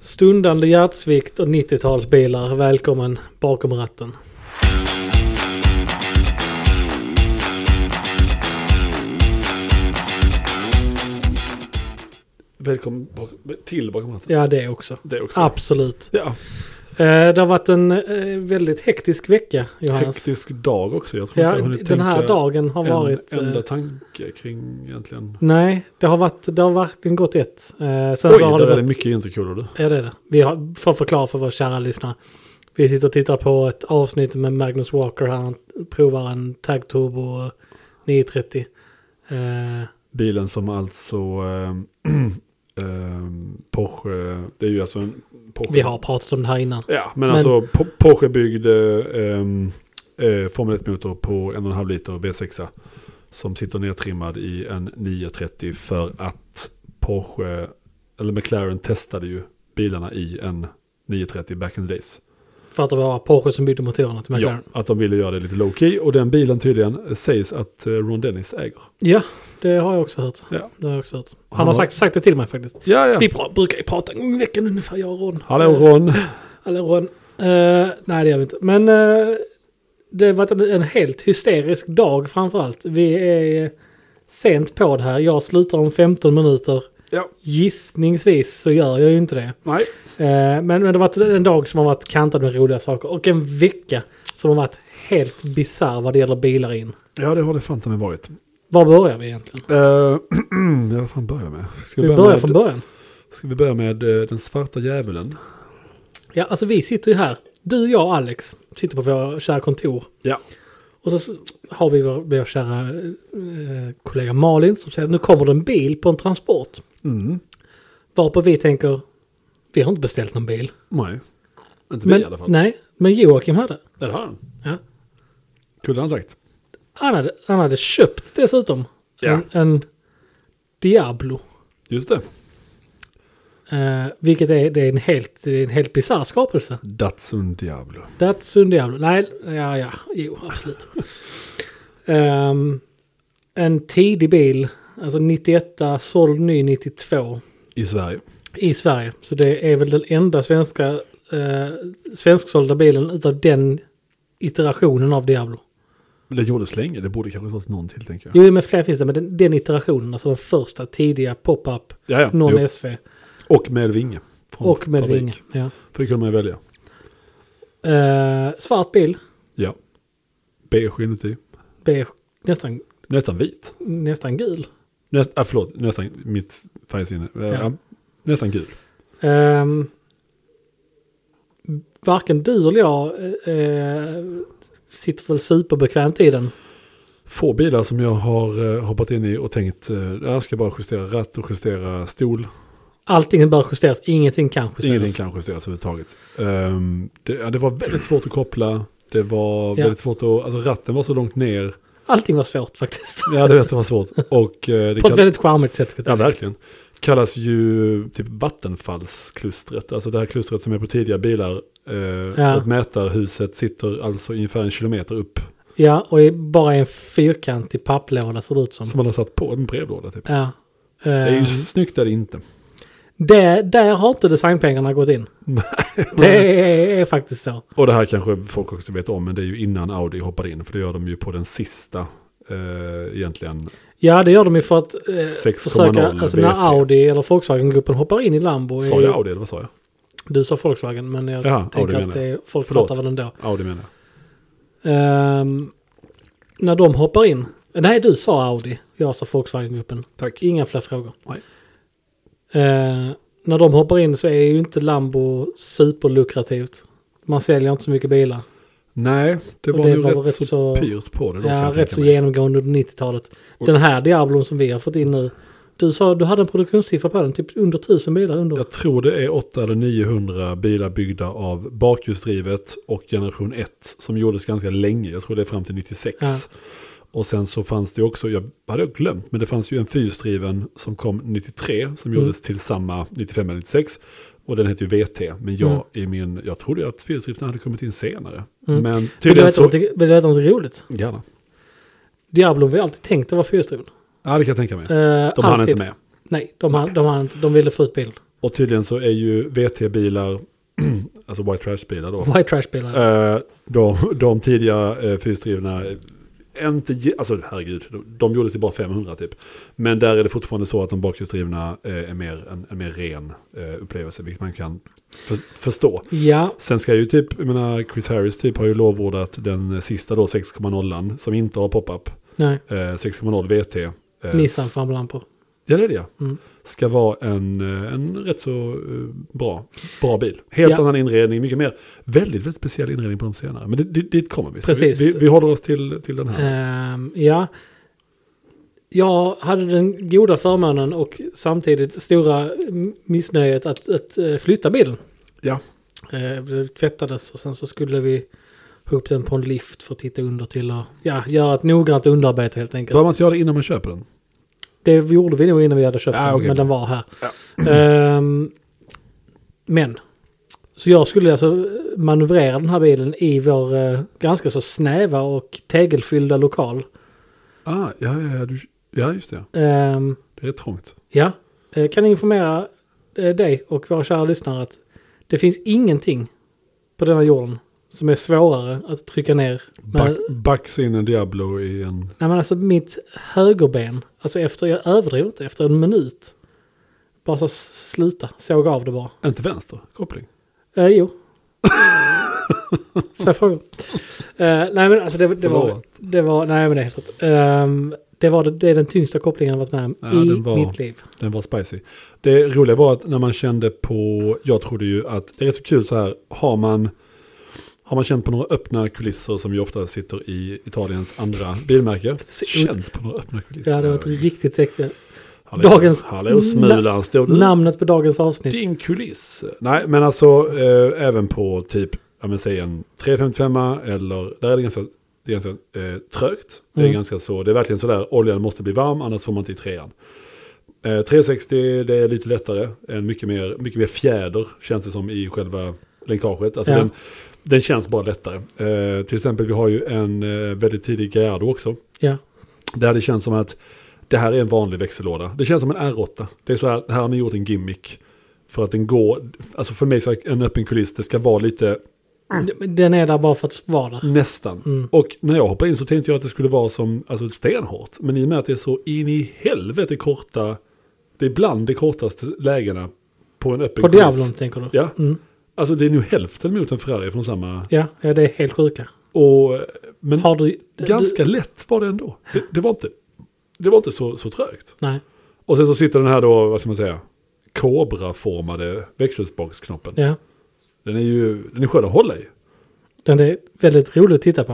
Stundande hjärtsvikt och 90-talsbilar. Välkommen bakom ratten. Välkommen bak, till bakom ratten. Ja, det också. Det också. Absolut. Ja, Eh, det har varit en eh, väldigt hektisk vecka, Johannes. hektisk dag också. Jag tror inte Ja, jag har hunnit den här tänka dagen har varit... en enda eh, tanke kring egentligen. nej, det har, varit, det har verkligen gått ett. Eh, sen Oj, så har där det är det varit, mycket intercooler du. Ja, det är det. Vi har, för att förklara för våra kära lyssnare. Vi sitter och tittar på ett avsnitt med Magnus Walker. Han provar en Tag Turbo 930. Eh, Bilen som alltså eh, eh, Porsche, det är ju alltså en Porsche. vi har pratat om det här innan. Ja, men, Men- alltså Po- Porsche byggde ehm, eh, Formel 1-motor på en och en halv liter V6. Som sitter nedtrimmad i en 930 för att Porsche, eller McLaren testade ju bilarna i en 930 back in the days. För att det var Porsche som byggde motorerna till Ja, McLaren. att de ville göra det lite low key och den bilen tydligen sägs att eh, Ron Dennis äger. Ja, det har jag också hört. Ja. Det har jag också hört. Han, Han har har- sagt, sagt det till mig faktiskt. Ja, Vi ja. pra- brukar ju prata en gång i veckan ungefär, jag och Ron. Eh, Hallå Ron. Hallå Ron. Eh, nej, det gör vi inte. Men eh, det har varit en, en helt hysterisk dag framförallt. Vi är eh, sent på det här. Jag slutar om 15 minuter. Ja, Gissningsvis så gör jag ju inte det. nej. Eh, men, men det har varit en dag som har varit kantad med roliga saker. Och en vecka som har varit helt bisarr vad det gäller bilar in. Ja, det har det fan ta mig varit. Var börjar vi egentligen? Uh, ja, vad fan börjar jag med? Ska Vi vi börjar börja från med, början. ska vi börja med eh, den svarta djävulen? Ja, alltså vi sitter ju här. Du, jag och Alex sitter på våra kära kontor. Ja. Och så s- har vi vår, vår kära eh, kollega Malin som säger nu kommer det en bil på en transport. Mm. Varpå vi tänker, vi har inte beställt någon bil. Nej. Inte vi Men, i alla fall. nej, men Joakim hade. Eller har han? Ja. Kunde han sagt. Han, hade han hade köpt dessutom Ja. en, en Diablo. Just det. Eh, vilket är, det är en helt, det är en helt bisarr skapelse. Datsun Diablo. Datsun Diablo. Nej, ja, ja, jo, absolut. Ehm, en tidig bil, alltså 91, såld ny 92 I Sverige. i Sverige. Så det är väl den enda svenska eh, svensksålda bilen utav den iterationen av Diablo. Men Det gjordes länge. Det borde kanske stått någon till tänker jag. Jo, men fler finns det, men den, den iterationen, alltså den första tidiga pop-up, Ja, ja. någon Jo. SV Och med vinge. Från och med fabrik. vinge. Ja. För det kunde man ju välja. Eh, svart bil, Ja. Beige inuti. beige, nästan, Nästan vit. nästan gul. Näst, ah, förlåt, nästan mitt färgsinne. Eh, Ja. ja. Nästan gul. Ehm, varken du eller jag eh, sitter väl superbekvämt i den. Få bilar som jag har eh, hoppat in i och tänkt, eh, jag ska bara justera ratt och justera stol. Allting bör justeras, ingenting kan justeras. Ingenting kan justeras överhuvudtaget. Ehm, det, ja, det var väldigt svårt att koppla. Det var Ja. väldigt svårt att, alltså ratten var så långt ner. Allting var svårt faktiskt. Ja, det vet jag var svårt. Och eh, det På ett kallas, väldigt charmigt sätt. ska jag ja, säga. verkligen. kallas ju typ vattenfallsklustret. Alltså det här klustret som är på tidiga bilar. Eh, Så att mätarhuset sitter alltså ungefär en kilometer upp. Ja, och i- bara en fyrkantig papplåda ser det ut som. Som man har satt på en brevlåda typ. Ja. Det är ju Ehm, snyggt är det inte. det, där har inte designpengarna gått in. det är, är faktiskt så. Och det här kanske folk också vet om, men det är ju innan Audi hoppade in, för det gör de ju på den sista eh, egentligen. Ja, det gör de ju för att eh, 6,0 försöka, alltså VT. när Audi eller Volkswagen-gruppen hoppar in i Lambo. Sa är- jag Audi eller vad sa jag? Du sa Volkswagen, men jag Jaha, ja, det tänker menar att det är, folk Förlåt. fattar väl ändå. Audi menar jag. Ehm, när de hoppar in. Nej, du sa Audi. Jag sa Volkswagen-gruppen. Tack. Inga fler frågor. Nej. Ehm, när de hoppar in så är ju inte Lambo superlukrativt. Man säljer inte så mycket bilar. Nej, det Och var det nog var rätt, rätt så- så pyrt på det. då, kan Ja, jag rätt tänka så mig. genomgående under 90-talet. Och- Den här Diablon som vi har fått in nu. Du sa du hade en produktionssiffra på den, typ under 1000 bilar under. Jag tror det är 800 eller 900 bilar byggda av bakhjulsdrivet och generation 1 som gjordes ganska länge. Jag tror det är fram till 96. Ja. Och sen så fanns det ju också, jag hade jag glömt, men det fanns ju en fyrhjulsdriven som kom 93 som Mm. gjordes till samma 95 eller 96. Och den hette ju VT, men jag, Mm. i min, jag trodde ju att fyrhjulsdriften hade kommit in senare. Mm. Men Vill du tydligen veta så... något- vill du veta något roligt? Gärna. Diablon vi har alltid tänkt att vara fyrhjulsdriven. Ja, det kan jag tänka mig. Uh, De hann inte med. Nej, de, hann- de, hann inte. de ville få ut bilen. Och tydligen så är ju VT-bilar, alltså white trash-bilar då, White trash-bilar. eh, de, de tidiga eh, fyrhjulsdrivna, eh, inte, ge- alltså herregud, de, de gjorde till bara 500 typ. Men där är det fortfarande så att de bakhjulsdrivna eh, är mer, en, en mer ren eh, upplevelse, vilket man kan för, förstå. Ja, Sen ska ju typ, jag menar Chris Harris typ har ju lovordat den sista då 6,0an som inte har pop-up. nej. Eh, 6,0 VT. Eh, Nissan s- famlar han på. Ja det är det ja. Mm. Ska vara en, eh, en rätt så eh, bra, bra bil. Helt Ja. annan inredning, mycket mer. Väldigt, väldigt speciell inredning på de senare. Men det, det, dit kommer vi. Så Precis. Vi, vi, vi håller oss till, till den här. Ehm, ja. Jag hade den goda förmånen och samtidigt stora m- missnöjet att, att eh, flytta bilen. Ja. Eh, det tvättades och sen så skulle vi ha upp den på en lift för att titta under till och ja, göra ett noggrant underarbete helt enkelt. Bör man inte göra det innan man köper den? Det gjorde vi nog innan vi hade köpt Ah, den, okej. men den var här. Ehm, men, så jag skulle alltså manövrera den här bilen i vår eh, ganska så snäva och tegelfyllda lokal. Ah, ja, ja, ja, du, ja, just det. Ehm, Det är rätt trångt. ja, eh, kan informera eh, dig och våra kära lyssnare att det finns ingenting på denna jorden som är svårare att trycka ner. Back, Med, backs in en Diablo i en... nej men alltså mitt högerben, alltså efter, jag överdriver inte, efter en minut. Bara så s- sluta, såg av det bara. Inte vänster koppling. Eh, jo. Får jag fråga? Eh, nej men alltså det, det var... Förlåt. Det var... Nej men det är helt rätt. Ehm, det, var, det, det är den tyngsta kopplingen jag varit med om Ja, i den var- mitt liv. Den var spicy. Det roliga var att när man kände på, jag trodde ju att det är rätt så kul så här, har man, har man känt på några öppna kulisser som ju ofta sitter i Italiens andra bilmärke. Så- Känt på några öppna kulisser. Ja, det var ett riktigt äckligt. Hallå, dagens- Hallå Smulan, står du? Namnet på dagens avsnitt. Din kuliss. Nej, men alltså eh, även på typ, ja men säg en 355 eller, där är det ganska, det är ganska eh, trögt. Det är Mm. ganska så, det är verkligen så där, oljan måste bli varm annars får man inte i trean. Eh, 360 det är lite lättare, en mycket mer, mycket mer fjäder känns det som i själva länkaget. Alltså Ja. den, den känns bara lättare. Eh, till exempel vi har ju en eh, väldigt tidig Gallardo också. Ja. Där det känns som att det här är en vanlig växellåda. Det känns som en R8. Det är så här, här har ni gjort en gimmick. För att den går, alltså för mig så är en öppen kuliss, det ska vara lite Den är där bara för att vara där. nästan. Mm. Och när jag hoppade in så tänkte jag att det skulle vara som, alltså stenhårt. Men i och med att det är så in i helvete korta, det är bland de kortaste lägena på en öppen På kuliss. Diablon tänker du? Ja, Mm. alltså det är nu hälften mot en Ferrari från samma. Ja, ja, det är helt sjuka. Och, men Har du... ganska lätt var det ändå. Det, det var inte, det var inte så, så trögt. Du, nej. Och sen så sitter den här då, vad ska man säga, kobraformade växelspaksknoppen. Ja. Den är ju, den är skön att hålla i. Den är väldigt rolig att titta på.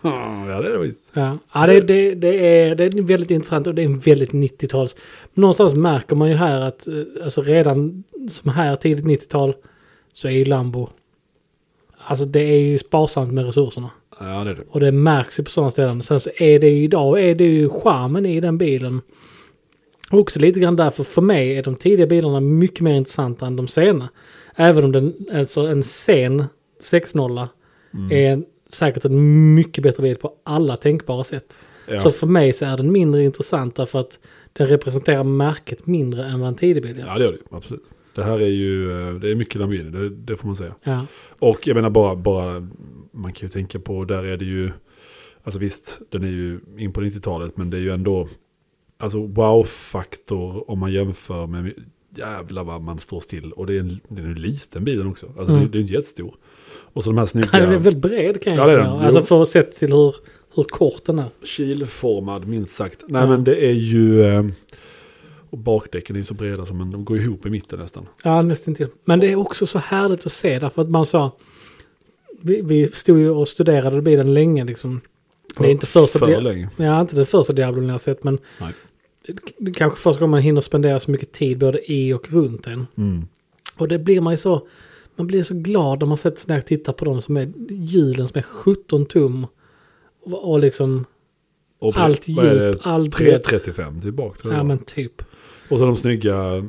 Ah, ja, det är det visst. Ja, ja det, det, det, är, det är väldigt intressant och det är en väldigt 90-tals. Någonstans märker man ju här att eh, alltså redan som här tidigt 90-tal så är ju Lambo. Alltså det är ju sparsamt med resurserna. Ja, det är det. Och det märks ju på sådana ställen. Sen så är det ju idag, är det ju charmen i den bilen. Och också lite grann därför för mig är de tidiga bilarna mycket mer intressanta än de sena. Även om den, alltså en sen 6.0 är säkert en mycket bättre bil på alla tänkbara sätt. Ja. Så för mig så är den mindre intressant därför att den representerar märket mindre än vad en tidig bil gör. ja, det gör det ju, absolut. Det här är ju, eh, det är mycket Lamborghini, det, det får man säga. Ja. Och jag menar bara, bara, man kan ju tänka på, där är det ju, alltså visst, den är ju in på 90-talet, men det är ju ändå, alltså wow-faktor om man jämför med, jävlar vad man står still. Och det är en, det är en liten bilen också, alltså Mm. det, det är inte jättestor. Och så de här snygga... Den är väldigt bred kan jag Ja, det är säga. den. Jo. Alltså för att se till hur, hur kort den är. kilformad minst sagt. Nej Ja. men det är ju... eh, Och bakdäcken är ju så breda som en, de går ihop i mitten nästan. Ja, nästan till. Men det är också så härligt att se därför att man sa... Vi, vi stod ju och studerade bilen länge liksom. Det är inte första för dia- länge. Ja, inte den första Diablon jag har sett men Nej. det- det är kanske första gången man hinner spendera så mycket tid både i och runt den. Mm. Och det blir man ju så... Man blir så glad när man sätter sig ner och tittar på dem som är hjulen som är 17 tum. Och, och liksom Och allt vad är det? djup, allt bredd. 335 tillbaka tror jag Ja det var. men typ. Och så de snygga eh,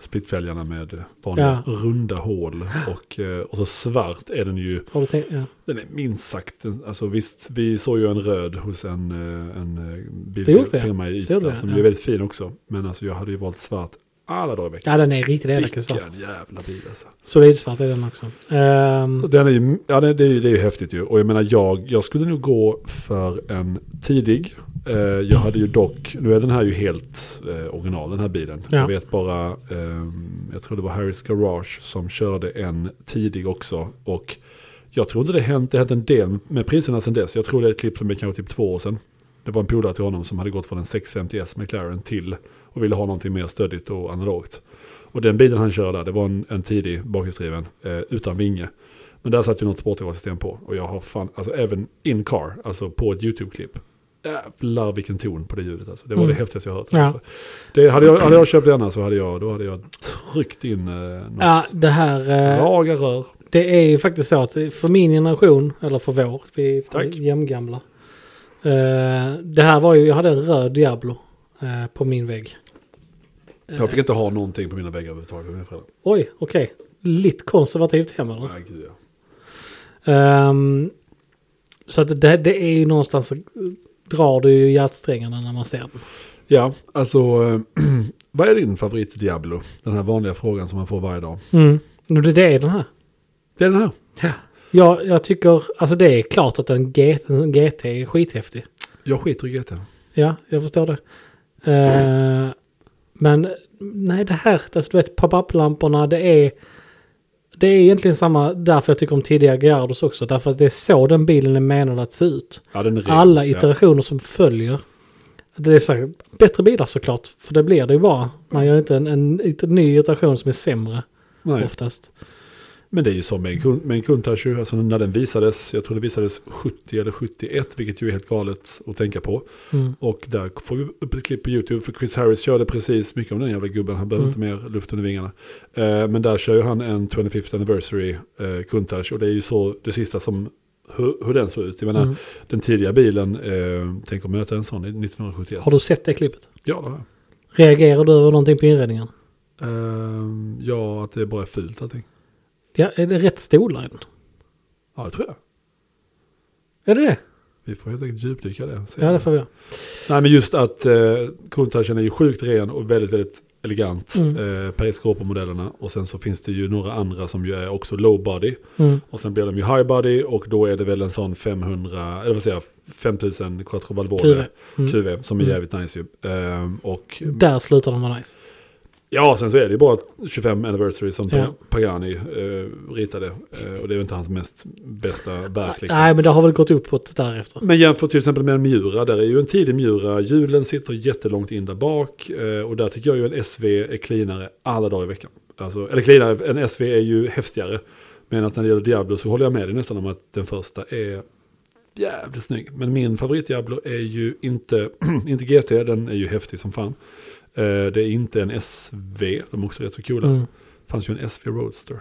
splitfälgarna med vanliga runda hål. Och, eh, och så svart är den ju. Har du tänkt? Ja. Den är minst sagt, en- alltså visst, vi såg ju en röd hos en, eh, en eh, Det gjorde vi. bilfirma i gjorde Ystad vi, som ja. ju är väldigt fin också. Men alltså jag hade ju valt svart alla dagar i veckan. Ja, den är riktigt elak i svart. Vilken jävla bil alltså. Solidsvart är den också. Ehm, Så Den är ju, ja, det, det, är ju, det är ju häftigt ju. Och jag menar, jag, jag skulle nog gå för en tidig. Eh, jag hade ju dock, nu är den här ju helt eh, original den här bilen. Ja. Jag vet bara, ehm, jag tror det var Harris Garage som körde en tidig också. Och jag tror inte det hänt, det har hänt en del med priserna sedan dess. Jag tror det är ett klipp som är kanske typ två år sedan. Det var en polare till honom som hade gått från en 650 S McLaren till och ville ha någonting mer stödigt och analogt. Och den bilen han körde, där, det var en, en tidig bakhjulsdriven eh, utan vinge. Men där satt ju något sportvarsystem på. Och jag har fan, alltså även in car, alltså på ett YouTube-klipp. Jävlar vilken ton på det ljudet alltså. Det var Mm. det häftigaste jag hört. Ja. Alltså. Det, hade, jag, hade jag köpt denna så hade jag, då hade jag tryckt in eh, något. ja, det här... eh, Raga rör. Det är ju faktiskt så att för min generation, eller för vår, vi är Tack. jämngamla. Eh, det här var ju, jag hade en röd Diablo eh, på min vägg. Jag fick inte ha någonting på mina väggar överhuvudtaget med mina föräldrar. Oj, okej. Lite konservativt hem eller? Nej, gud ja. Ehm, så att det, det är ju någonstans, drar du ju hjärtsträngarna när man ser den. Ja, alltså eh, vad är din favorit Diablo? Den här vanliga frågan som man får varje dag. Mm. Nu, Det, det är den här. Det är den här. Ja, jag tycker, alltså det är klart att en, G, en GT är skithäftig. Jag skiter i GT. Ja, jag förstår det. Eh, men nej, det här, alltså, du vet, pop-up-lamporna, det är... Det är egentligen samma, därför jag tycker om tidiga Gerardos också, därför att det är så den bilen är menad att se ut. Ja, den är ren. Alla ja. iterationer som följer. Det är så här, bättre bilar såklart, för det blir det ju bara. Man gör inte en, en, en ny iteration som är sämre Nej. oftast. Men det är ju så med en, kund, med en kundtouch, ju. alltså när den visades, jag tror det visades 70 eller 71, vilket ju är helt galet att tänka på. Mm. Och där får vi upp ett klipp på YouTube, för Chris Harris körde precis mycket om den jävla gubben, han behöver Mm. inte mer luft under vingarna. Eh, men där kör ju han en 25th anniversary eh, kundtouch, och det är ju så det sista som, hur, hur den såg ut. Jag menar, Mm. den tidiga bilen, eh, tänk att möta en sån i 1971. Har du sett det klippet? Ja, det har jag. Reagerar du över någonting på inredningen? Ehm, ja, att det bara är fult allting. Ja, är det rätt stolar i den? Ja, det tror jag. Är det det? Vi får helt enkelt djupdyka det. Ja, det får vi göra. Nej men just att eh, kundtouchen är ju sjukt ren och väldigt, väldigt elegant. Mm. Eh, periskop på modellerna och sen så finns det ju några andra som ju är också low body. Mm. Och sen blir de ju high body och då är det väl en sån 500, eller vad säger jag, 5000 quattro valvole. Mm. QV som är Mm. jävligt nice ju. Eh, och Där slutar de vara nice. ja, sen så är det ju bara 25 anniversary som Ja. Pagani eh, ritade. Eh, och det är ju inte hans mest bästa verk liksom. Nej, men det har väl gått uppåt därefter. Men jämfört till exempel med en Miura, där är ju en tidig Miura, hjulen sitter jättelångt in där bak eh, och där tycker jag ju en SV är cleanare alla dagar i veckan. Alltså, eller cleanare, en SV är ju häftigare. Men att när det gäller Diablo så håller jag med dig nästan om att den första är jävligt snygg. Men min favorit Diablo är ju inte, inte GT, den är ju häftig som fan. Eh, Det är inte en SV, de är också rätt så coola. Mm. fanns ju en SV Roadster,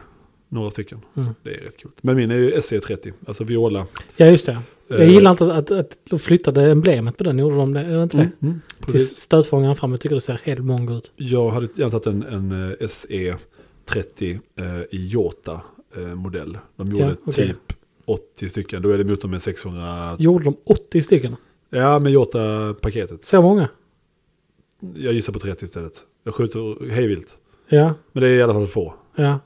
några stycken. Mm. Det är rätt coolt. Men min är ju SE30, alltså Viola. Ja, just det. Jag Eh, gillar inte att, att, att de flyttade emblemet på den. Gjorde de det? Eller inte det? mm, mm, Till precis. stötfångaren fram. Jag tycker det ser helt mongo ut. Jag hade gärna tagit en, en eh, SE30 eh, i Jota-modell. De gjorde Ja, okej. typ 80 stycken. Då är det motorn med 600... Gjorde de 80 stycken? Ja, med Jota-paketet. Så många? Jag gissar på 30 istället. Jag skjuter hejvilt. Ja, Men det är i alla fall få. ja.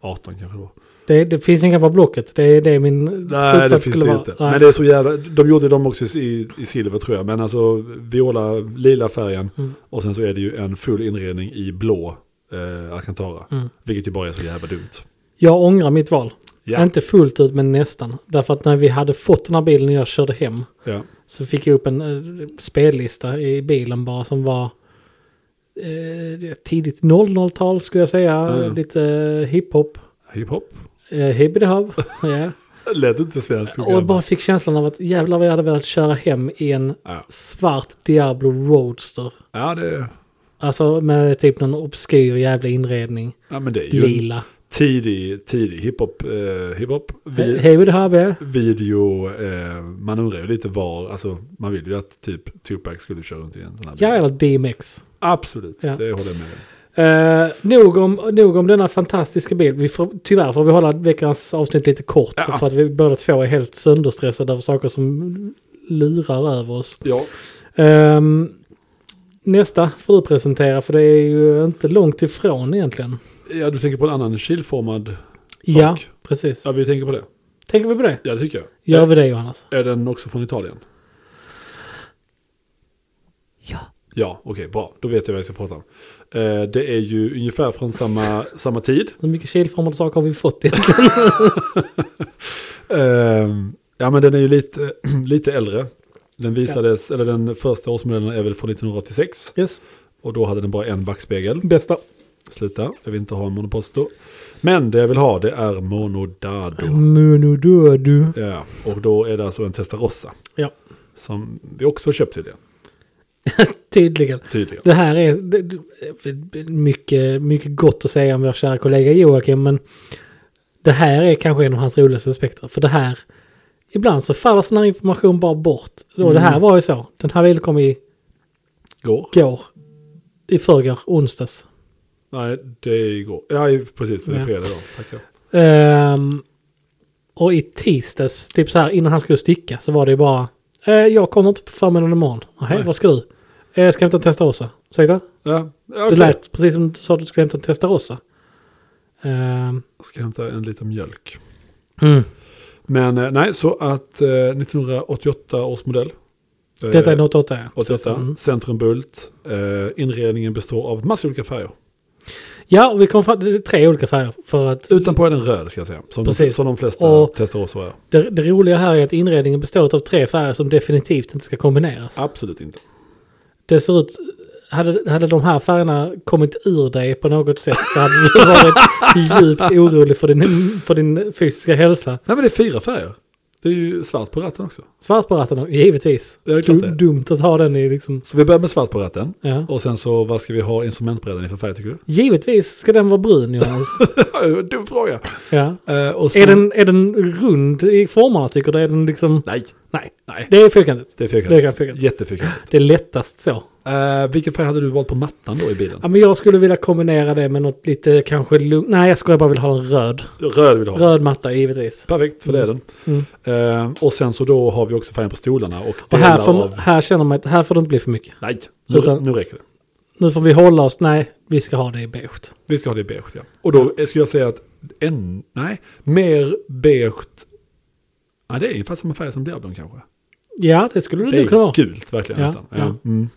18 kanske det var. Det, det finns inga på blocket. Det är det min Nej, det slutsats finns skulle det vara. inte. Nej. Men det är så jävla... De gjorde dem också i, i silver tror jag. Men alltså viola, lila färgen. Mm. Och sen så är det ju en full inredning i blå eh, Alcantara. Mm. Vilket ju bara är så jävla dumt. Jag ångrar mitt val. Ja. Inte fullt ut, men nästan. Därför att när vi hade fått den här bilen och jag körde hem. ja. Så fick jag upp en eh, spellista i bilen bara som var eh, tidigt 00-tal skulle jag säga. Mm. Lite eh, hiphop. Hiphop. Eh, Hibbidehub. ja. Lät inte svenskt. Och jag bara fick känslan av att jävlar vad jag hade velat köra hem i en Ja. svart Diablo Roadster. Ja, det, Alltså med typ någon obskyr jävla inredning. ja, men det är ju en Lila. tidig, tidig hiphop, eh, hiphop vi, Hibbidehub ja. video. Eh, man undrar ju lite var, alltså man vill ju att typ Tupac skulle köra runt i en sån här Ja, bil. eller DMX. Absolut, Ja. det håller jag med om. Eh, nog, om, nog om denna fantastiska bild. Vi får, tyvärr får vi hålla veckans avsnitt lite kort. Ja. För att vi båda två är helt sönderstressade av saker som lurar över oss. Ja, Ehm, nästa får du presentera för det är ju inte långt ifrån egentligen. Ja, du tänker på en annan kilformad sak? Ja, precis. Ja, vi tänker på det. Tänker vi på det? Ja, det tycker jag. Gör vi det Johannes? Är den också från Italien? Ja. Ja, okej, bra. Då vet jag vad jag ska prata om. Eh, det är ju ungefär från samma, samma tid. Hur mycket kilformade saker har vi fått egentligen? Ehm, ja, men den är ju lite, lite äldre. Den visades, eller den första årsmodellen är väl från 1986. Yes. Och då hade den bara en backspegel. Bästa. Sluta, jag vill inte ha en monoposto. Men det jag vill ha det är monodado. Monodödu. Ja, och då är det alltså en Testarossa. Ja, Som vi också köpt till det, tydligen. tydligen. Det här är det- det- mycket, mycket gott att säga om vår kära kollega Joakim, men det här är kanske en av hans roligaste aspekter. För det här, ibland så faller sån här information bara bort. Och det här var ju så. Den här bilen kom i Går? går, i förrgår, onsdags. Nej, det är igår. Ja, i- precis. Det är Ja. fredag då. Tackar. Ehm, och i tisdags, typ så här innan han skulle sticka, så var det ju bara eh, jag kommer inte på förmiddagen imorgon. Nej, Nej. vad ska du? Eh, jag ska hämta en Testarossa. Ursäkta? Ja, ja, Det okej. lät precis som du sa att du skulle hämta en Testarossa. Ehm, Ska hämta en liten mjölk. mm. Men eh, nej, så att eh, 1988 års modell. Eh, Detta är en 88 ja. Precis. 88, Mm. Centrum Bult. Eh, inredningen består av massa olika färger. Ja, och vi kom fram till tre olika färger. För att Utanpå är den röd ska jag säga. Som, de, Precis. som de flesta Och- testar oss är. det, det roliga här är att inredningen består av tre färger som definitivt inte ska kombineras. Absolut inte. Det ser ut... Hade, hade de här färgerna kommit ur dig på något sätt så hade du varit djupt orolig för din, för din fysiska hälsa. Nej men det är fyra färger. Det är ju svart på ratten också. Svart på ratten, givetvis. Det är klart det. Dumt att ha den i liksom... Så vi börjar med svart på ratten. Ja. Och sen så vad ska vi ha instrumentbrädan i för färg tycker du? Givetvis ska den vara brun Jonas. Dum fråga. Ja. Eh, och sen... Är den, är den rund i formarna tycker du? Är den liksom... Nej, Nej, nej. det är fyrkantigt. Det är Det är fyrkantigt. fyrkantigt. Jättefyrkantigt. Det är lättast så. Eh, vilken färg hade du valt på mattan då i bilen? Ja, men jag skulle vilja kombinera det med något lite kanske lugnt. Nej, jag skulle bara vilja ha en röd. Röd vill du ha. Röd matta givetvis. Perfekt, för det är den. Mm. Eh, och sen så då har vi också färgen på stolarna och Och delar här, får, av... här känner man att här får det inte bli för mycket. Nej, nu, Utan- nu räcker det. Nu får vi hålla oss. Nej, vi ska ha det i beige. Vi ska ha det i beige, ja. Och då skulle jag säga att en, nej, mer beige... Ja, det är ungefär samma färg som Diablon kanske. Ja, det skulle Det det kunna vara. är gult verkligen Ja, nästan. Ja. ja. Mm.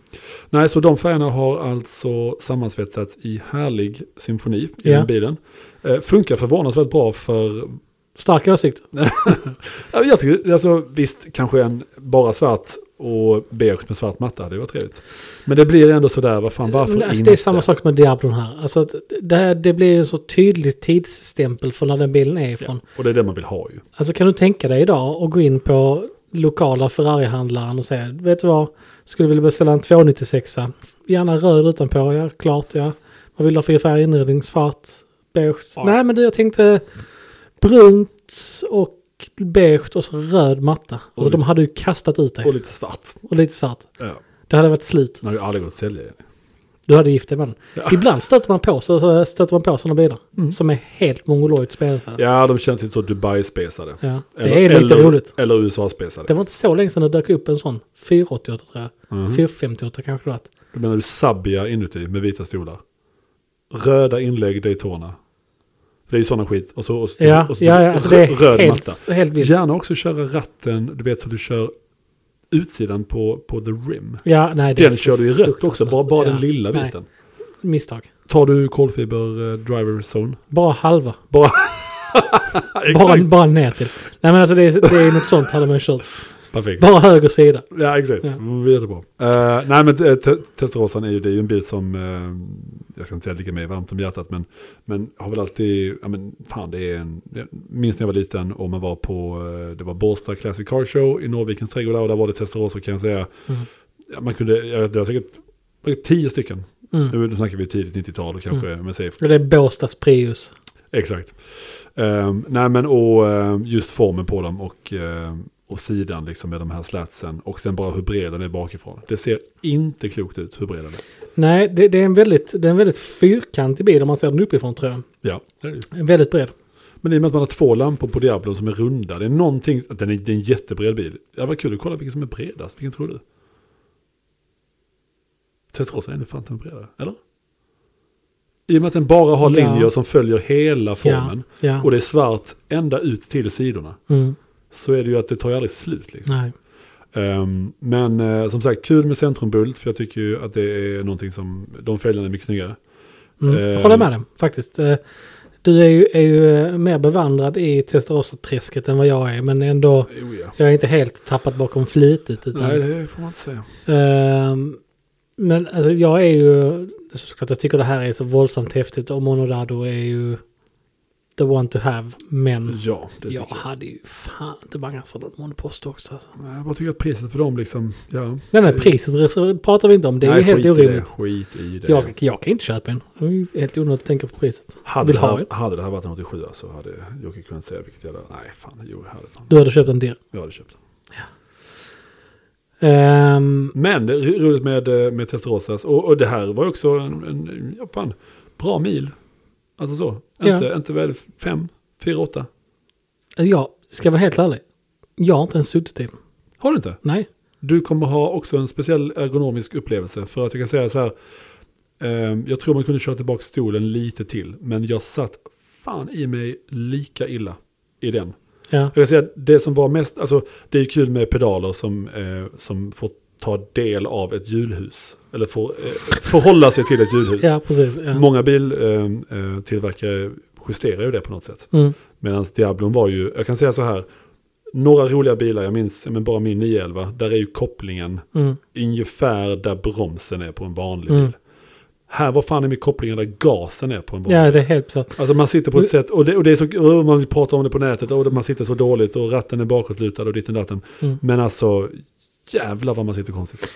Nej, så de färgerna har alltså sammansvetsats i härlig symfoni i Ja. den bilen. Eh, funkar förvånansvärt bra för... Stark åsikt. Ja, Jag tycker, alltså, visst, kanske en bara svart och beige med svart matta hade ju varit trevligt. Men det blir ändå sådär, vad fan, varför Men, alltså, inte? det är samma sak med Diablon här. Alltså, att det, här det blir en så tydlig tidsstämpel för när den bilen är ifrån. Och det är det man vill ha ju. Alltså kan du tänka dig idag och gå in på lokala Ferrari-handlaren och säga, vet du vad, skulle vilja beställa en 296 Gärna röd utanpå, ja klart ja. Vad vill du ha för färg inredning? Svart? Beige? Ja. Nej men du, jag tänkte brunt och beige och så röd matta. Alltså lite- de hade ju kastat ut dig. Och Och, lite svart. lite svart. Ja. Det hade varit slut. Den har ju aldrig gått att sälja. igen. Du hade gift dig med den. Ja. Mm. Ibland stöter man på, så, så stöter man på sådana bilar. Som är helt mongoloidt spelare. Ja, de känns lite så Dubai-spesade. Ja. Det är lite eller, roligt. Eller USA-spesade. Det var inte så länge sedan det dök upp en sån. 488 tror jag. Mhm. 458 kanske det var. Då menar du sabbiga inuti med vita stolar. Röda inlägg Daytona. Det är ju sådana skit. Och så, och så, Ja, och så ja, ja alltså det är röd helt, matta. helt vilt. Ja. Gärna också köra ratten, du vet så du kör utsidan på, på the rim. nej. det är Den kör du i rött också, fruktansvärt. bara, bara Ja, den lilla nej. biten. Misstag. Tar du kolfiber eh, driver zone? Bara halva. Bara, Bara, exakt. bara ner till. Nej men alltså det är, det är något sånt hade man kört. Perfekt. Bara höger sida. Ja, exakt. Ja. Ja. Jättebra. Eh, nej, men eh, te- Testarosan är ju, det är ju en bil som, eh, jag ska inte säga ligger mig varmt om hjärtat, men, men har väl alltid, ja men fan det är en, jag minns när jag var liten och man var på, eh, det var Båstad Classic Car Show i Norrvikens trädgård där, och där var det Testarossa kan jag säga. Mm. Ja, man kunde, jag vet, det var säkert, det var tio stycken. Mm. Nu, nu snackar vi tidigt 90-tal kanske, men säg Och Det är Båstads Prius. Exakt. Um, nej men och ehm, just formen på dem och, ehm, och sidan liksom med de här slatsen. Och sen bara hur bred den är bakifrån. Det ser inte klokt ut hur bred den är. Nej, det, det, är en väldigt, det är en väldigt fyrkantig bil om man ser den uppifrån tror jag. Ja, det är det ju. En Väldigt bred. Men i och med att man har två lampor på Diablo som är runda. Det är någonting, att den är, det är en jättebred bil. Det var kul att kolla vilken som är bredast. Vilken tror du? Testarossa är nu fan inte bredare, eller? I och med att den bara har Ja. linjer som följer hela formen. Ja. Och det är svart ända ut till sidorna. Mm. Så är det ju att det tar ju aldrig slut. Liksom. Nej. Ehm, men eh, som sagt, kul med centrumbult. För jag tycker ju att det är någonting som, de fälgarna är mycket snyggare. Mm. Eh. Håller med dig faktiskt. Eh, Du är ju, är ju eh, mer bevandrad i Testarossa-träsket än vad jag är. Men ändå, Jo, Oh, ja. jag är inte helt tappat bakom flitet. Utan, Nej, det får man inte säga. Ehm, men alltså, jag är ju, såklart jag tycker det här är så våldsamt häftigt och Monodado är ju the one to have. Men Mm. Ja, det jag tycker jag. hade ju fan inte bangat för någon monopost också. Alltså. Nej, Jag bara tycker att priset för dem liksom, ja. Nej, nej, priset så pratar vi inte om. Det är Nej, ju helt skit i det, orimligt. Skit i det. Jag, jag kan inte köpa en. Det är ju Helt onödigt att tänka på priset. hade, vill det ha här, en. hade det här varit en 87 så hade Jocke kunnat säga vilket jävla... Nej, fan. Jo, jag hade, fan. Du hade köpt en del. Jag hade köpt den. Ehm, Men det är roligt med, eh, med Testerosas. Och, och det här var ju också en, en ja, fan, bra mil. Alltså så. Ja. Inte, inte väl fem, fyra, åtta. jag ska vara helt ärlig. Jag har inte ens suttit i den. Har du inte? Nej. Du kommer ha också en speciell ergonomisk upplevelse. För att jag kan säga så här. ehm, jag tror man kunde köra tillbaka stolen lite till. Men jag satt fan i mig lika illa i den. Ja. Jag kan säga att det som var mest, alltså det är ju kul med pedaler som, eh, som får ta del av ett hjulhus. Eller får eh, förhålla sig till ett hjulhus. ja, precis. Ja. Många biltillverkare eh, tillverkare justerar ju det på något sätt. Mm. Medan Diablon var ju, jag kan säga så här, några roliga bilar, jag minns, men bara min 911, där är ju kopplingen Mm. ungefär där bromsen är på en vanlig Mm. bil. Här var fan är min kopplingen där gasen är på en vanlig ja, det är helt besatt. Alltså man sitter på ett sätt, och, det, och det är så, och man pratar om det på nätet, och det- man sitter så dåligt och ratten är bakåtlutad och ditten datten. Mm. Men alltså, jävlar vad man sitter konstigt.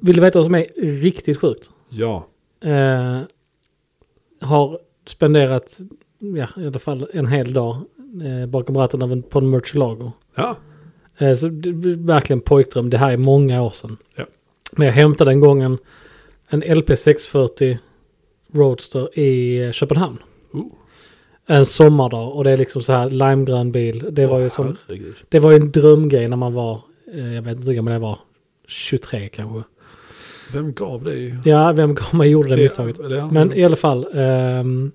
Vill du veta vad som är riktigt sjukt? Ja, Eh, har spenderat, ja i alla fall en hel dag eh, bakom ratten av en, på en Murcielago. ja, Eh, så det, det, verkligen pojkdröm, det här är många år sedan. Ja. Men jag hämtade en gång en, en LP 640 Roadster i eh, Köpenhamn. Oh. En sommardag och det är liksom så här limegrön bil. Det var ju som, herregud. det var ju en drömgrej när man var, eh, jag vet inte hur gammal jag var, 23 kanske. Vem gav dig? Ja, vem gav mig gjorde det, misstaget? det- Men i alla fall. ehm,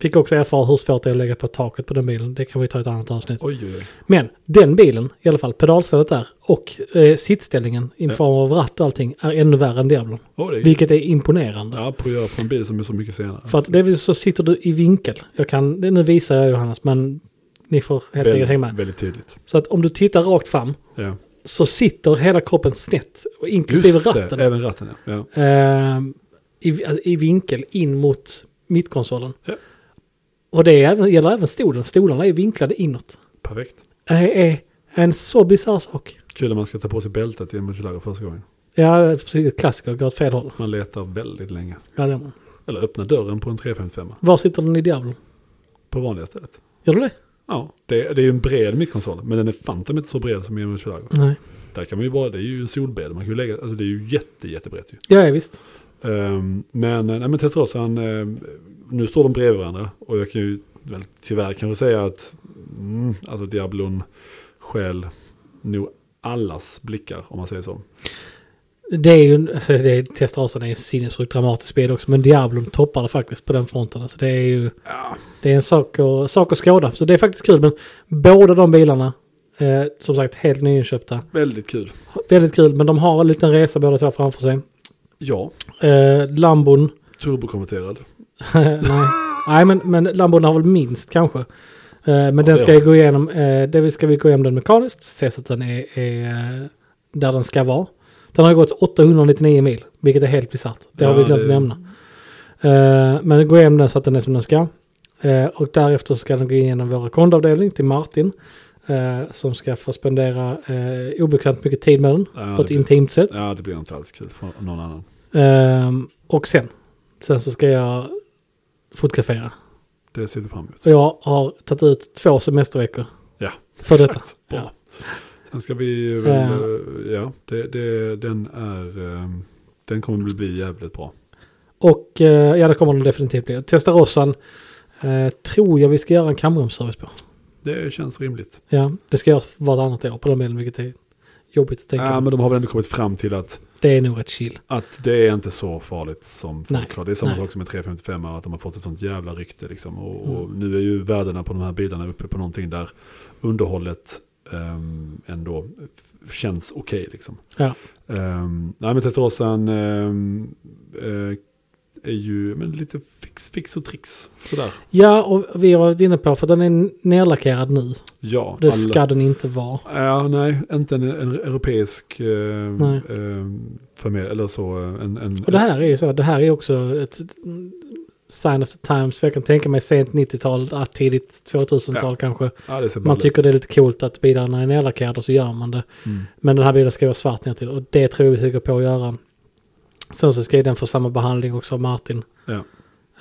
fick också erfara hur svårt det är att lägga på taket på den bilen. Det kan vi ta i ett annat avsnitt. Oj, oj, oj. Men den bilen, i alla fall pedalstället där och eh, sittställningen i form av ratt och allting är ännu värre än Diablon. Oj, det är, Vilket är imponerande. ja, på att göra på en bil som är så mycket senare. För att det är väl så sitter du i vinkel. Jag kan, det- nu visar jag Johannes men ni får helt enkelt hänga väldigt, med. väldigt tydligt. Så att om du tittar rakt fram Ja. så sitter hela kroppen snett. och Inklusive Just ratten. det, även ratten ja. ja. eh, i, alltså, i vinkel in mot mittkonsolen. Ja. Och det är, även- gäller även stolen. Stolarna är vinklade inåt. Perfekt. Det är en så bisarr sak. Kul att man ska ta på sig bältet i en Murcielago första gången. Ja, precis. Klassiker. Går åt fel håll. Man letar väldigt länge. Ja, det är man. Eller öppna dörren på en 355 Var sitter den i Diablo? på vanliga stället. Gör du det? Ja, det, det är ju en bred mittkonsol, men den är fantom inte så bred som i en Murcielago. Nej. Där kan man ju bara, det är ju en solbädd, man kan ju lägga, alltså det är ju jätte, jättebrett ju. Ja, ja, visst. Ehm, men, nej men Testosan, eh, nu står de bredvid varandra och jag kan ju, väl tyvärr kan jag säga att, mm, alltså Diablon stjäl nog allas blickar om man säger så. Det är ju, en- alltså det är, Testarosan är ju sinnessjukt dramatiskt spel också, men Diablo toppar det faktiskt på den fronten. Alltså det är ju, det är en sak, och, sak att skåda. Så det är faktiskt kul, men båda de bilarna, eh, som sagt helt nyinköpta, Väldigt kul. Väldigt kul, men de har en liten resa båda två framför sig. Ja, Eh, Lambon, turbokonverterad. nej. nej men, men Lambon har väl minst kanske. Eh, men den det ska har jag gå igenom, eh, det ska vi gå igenom den mekaniskt, se så att den är, är eh, där den ska vara. Den har gått 899 mil, vilket är helt bisarrt. Det har Ja, vi glömt det- nämna. Eh, men gå igenom den så att den är som den ska. Eh, och därefter ska den gå igenom vår kundavdelning till Martin. Eh, som ska få spendera eh, obekvämt mycket tid med den Ja, på ett det blir- intimt sätt. Ja, det blir inte alls kul för någon annan. Ehm, och sen, sen så ska jag fotografera. Det ser du fram emot. Och jag har tagit ut två semesterveckor Ja, för detta. Bra. Ja. Sen ska vi väl, eh, ja, det, det, den är, eh, den kommer att bli jävligt bra. Och eh, ja, det kommer den definitivt bli. Testarossan eh, tror jag vi ska göra en kamrumsservice på. Det känns rimligt. Ja, det ska jag göra vartannat år på den bilen, vilket är jobbigt att tänka Ja, på. men de har väl ändå kommit fram till att det är nog rätt chill. Att det är inte så farligt som Nej, folk har. Det är samma nej. sak som med 355 att de har fått ett sånt jävla rykte. Liksom. Och, och Mm. nu är ju värdena på de här bilarna uppe på någonting där underhållet ehm, ändå känns okej. liksom. Ja. Ehm, nej men Testarossen ehm, eh, är ju men lite fix, fix och tricks. Sådär. ja, och vi har varit inne på för den är nerlackerad nu. Ja, Det alla- ska den inte vara. Ja, nej, inte en, en europeisk eh, Nej. eh, förmed, eller så. eh, En, en, Och det här är ju så, det här är också ett sign of the times. För jag kan tänka mig sent 90-tal, ja, tidigt 2000-tal kanske. ja, det ser Man ballt tycker ut. det är lite coolt att bilarna är nerlackerade och så gör man det. Mm. Men den här bilen ska vara svart ner till och det tror vi säkert på att göra. Sen så ska ju den få samma behandling också av Martin. Ja.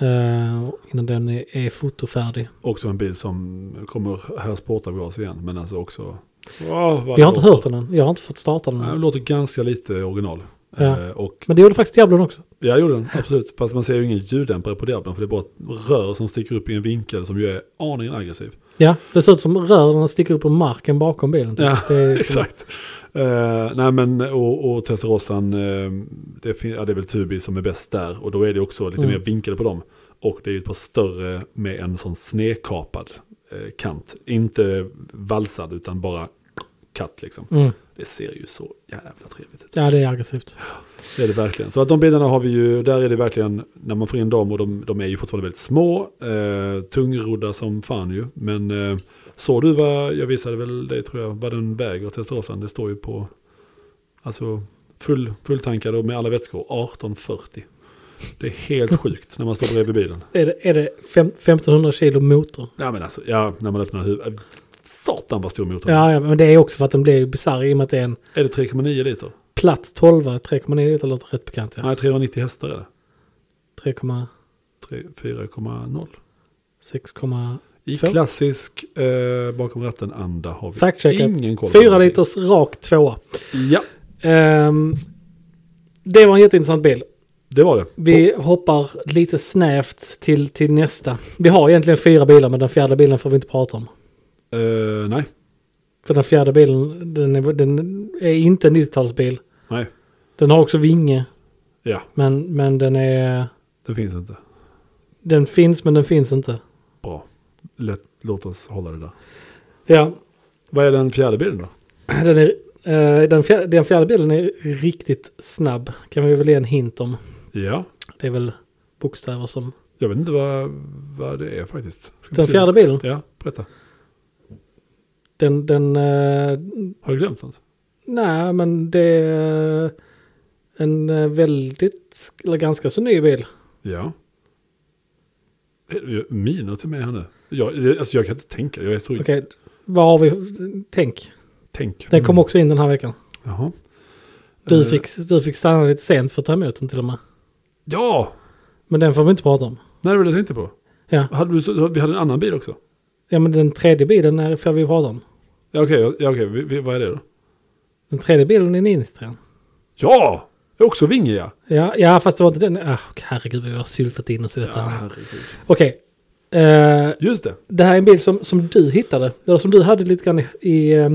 Eh, innan den är, är fotofärdig. Också en bil som kommer här sportavgas igen, men alltså också... Wow, vad Vi har inte det hört den än. Jag har inte fått starta den Nej, än. den låter ganska lite original. Ja. Eh, och Men det gjorde faktiskt Diablon också. jag gjorde den, absolut. Fast man ser ju ingen ljuddämpare på Diablon, för det är bara ett rör som sticker upp i en vinkel som ju är aningen aggressiv. Ja, det ser ut som rören sticker upp ur marken bakom bilen. typ. Ja, det är liksom- Exakt. Eh, nej men och, och Testarossan, eh, det, fin- ja, det är väl Tubi som är bäst där. Och då är det också lite Mm. mer vinkel på dem. Och det är ju ett par större med en sån snekapad eh, kant. Inte valsad utan bara katt liksom. Mm. Det ser ju så jävla trevligt ut. Ja, det är aggressivt. Det är det verkligen. Så att de bilarna har vi ju, där är det verkligen, när man får in dem och de, de är ju fortfarande väldigt små, eh, tungrodda som fan ju. Men eh, såg du vad, jag visade väl dig tror jag, vad den väger Testarossan, det står ju på, alltså full, fulltankad och med alla vätskor, 1840. Det är helt sjukt när man står bredvid bilen. Är det, är det fem, 1500 kilo motor? Ja men alltså, ja, när man öppnar huvudet, satan vad stor motor. Ja, ja, men det är också för att den blir bisarr i och med att det är en Är det 3,9 liter? platt 12, 3,9 liter låter rätt bekant. Ja. Nej, 390 hästar är det. 3,6, Tre- 4,0. komma- I Två. klassisk eh, bakom ratten-anda har vi Fact-checkat. ingen koll. på Fyra någonting. liters rak tvåa. Ja, Ehm, det var en jätteintressant bil. det var det. Vi hoppar lite snävt till, till nästa. Vi har egentligen fyra bilar men den fjärde bilen får vi inte prata om. Och, eh, nej, För den fjärde bilen den är, den är inte en 90-talsbil. nej, Den har också vinge ja, men, men den är... det finns inte. Den finns men den finns inte. Bra, Lätt, låt oss hålla det där. Ja, Vad är den fjärde bilden då? Den, är, eh, den, fjärde, den fjärde bilen är riktigt snabb. Kan vi väl ge en hint om. Ja, Det är väl bokstäver som... jag vet inte vad, vad det är faktiskt. Ska vi Den skriva? fjärde bilen, Ja, berätta. den... den eh, Har du glömt något? nej, men det är eh, en eh, väldigt, eller ganska så ny bil. Ja. Eh, Miner till mig här nu. Jag, det- alltså jag kan inte tänka, jag är så... Okej, vad har vi? Tänk. Tänk. Den kom också in den här veckan. Jaha. Du Mm. Eh, fick, du fick stanna lite sent för att ta emot den till och med. Ja! Men den får vi inte prata om. Nej, det var det jag tänkte på. Ja, Hade du, så- vi hade en annan bil också. ja men den tredje bilen är, får vi prata om. Ja, okej, ja, okej. Vi, vi, vad är det då? Den tredje bilen är Ninistran. Ja! Jag är också vingig ja. Ja, ja, fast det var inte den. Ah, herregud, vi har syltat in oss i detta. här. herregud. Okej. Eh, Just det. det här är en bild som, som du hittade. Eller som du hade lite grann i... i eh,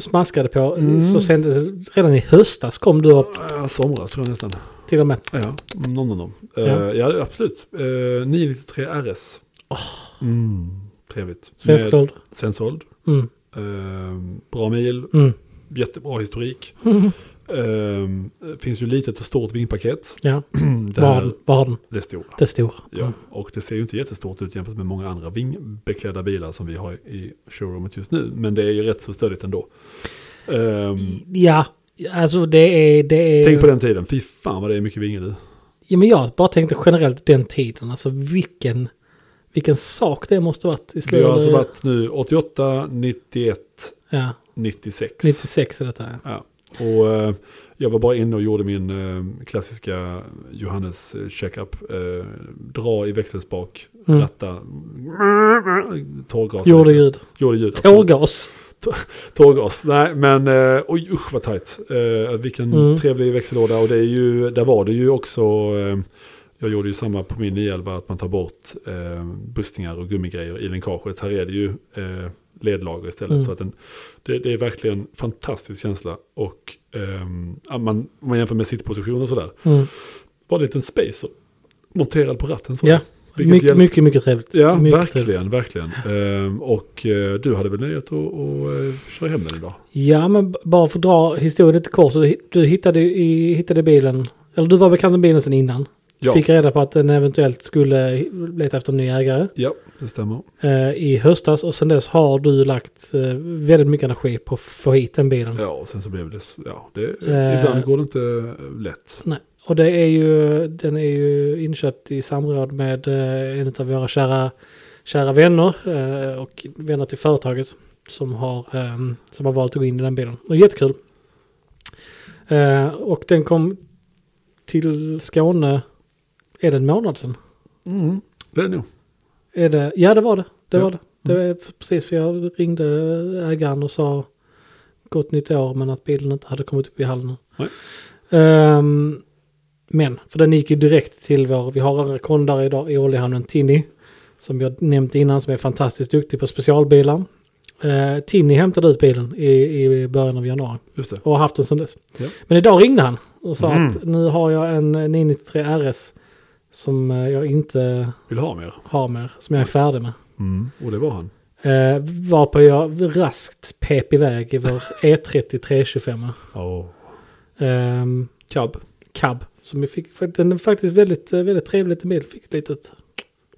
smaskade på. Mm. Så sent, redan i höstas kom du upp Äh, somras tror jag nästan. Ah, till och med. Ja, någon av dem. Eh, Ja. ja. absolut. Uh, 993 RS. Mm, trevligt. Svensk Med- såld. Svensk såld. Mm, Eh, bra mil. mm, Jättebra historik. Eh, finns ju litet och stort vindpaket. ja. det, Vad har här, den? Vad har den? det är stora. Det stora. Ja, och det ser ju inte jättestort ut jämfört med många andra vingbeklädda bilar som vi har i showroomet just nu. Men det är ju rätt så stödigt ändå. Ehm, Mm. Ja, alltså det är... Det är Tänk på den tiden, fy fan vad det är mycket vingar nu. Ja, men jag bara tänkte generellt den tiden. Alltså vilken... Vilken sak det måste varit i Vi slutet. har alltså varit nu 88, 91, Ja, 96. 96 är detta. ja. Ja. Och eh, jag var bara inne och gjorde min eh, klassiska Johannes eh, checkup. Eh, dra i växelspak, Mm. ratta, tårgas. Gjorde ljud. Gjorde ljud. absolut. Tårgas. Tårgas. Nej, men eh, oj usch vad tajt. Eh, vilken Mm. trevlig växellåda. Och det är ju, där var det ju också, eh, jag gjorde ju samma på min 911, att man tar bort eh, bustningar och gummigrejer i länkaget. Här är det ju eh, ledlager istället. Mm. Så att den, det, det är verkligen en fantastisk känsla. Och ehm, ja, man, om man jämför med sittposition och sådär. Mm. Var det en liten spacer monterad på ratten så. Ja, Vilket mycket, hjälp- mycket, mycket trevligt. Ja, mycket verkligen, trevligt. verkligen. Ehm, och eh, du hade väl nöjet att, att eh, köra hem den idag? Ja, men b- bara för att dra historien lite kort. Så du- du hittade, ju i, hittade bilen, eller du var bekant med bilen sedan innan. Ja. Fick reda på att den eventuellt skulle leta efter en ny ägare Ja, det stämmer. eh, i höstas. Och sedan dess har du lagt eh, väldigt mycket energi på att få hit den bilen. Ja, och sen så blev det, ja, det Eh. ibland går det inte eh, lätt. Nej. Och det är ju, den är ju inköpt i samråd med eh, en av våra kära, kära vänner eh, och vänner till företaget som har, eh, som har valt att gå in i den bilen. Och jättekul. Eh, och den kom till Skåne, är det en månad sedan? Mm. Det är det nog. Är det, ja det var det, det Ja. var det. Det var precis för jag ringde ägaren och sa gott nytt år men att bilen inte hade kommit upp i hallen. Nej. Ehm, men, för den gick ju direkt till vår, vi har en rekondare idag i Oljehamnen, Tinny. Som jag nämnt innan som är fantastiskt duktig på specialbilar. Uh, Tinny hämtade ut bilen i, i början av januari Just det. och har haft den sedan dess. Ja. Men idag ringde han och sa Mm. att nu har jag en 993 RS som eh, jag inte Vill ha mer. har mer, som jag är färdig med. Mm. Och det var han. Eh, varpå jag raskt pep iväg i vår E E30 325. Oh. Ehm, cab. Cab. Som vi fick, för den är faktiskt väldigt, eh, väldigt trevlig liten bil. Fick ett litet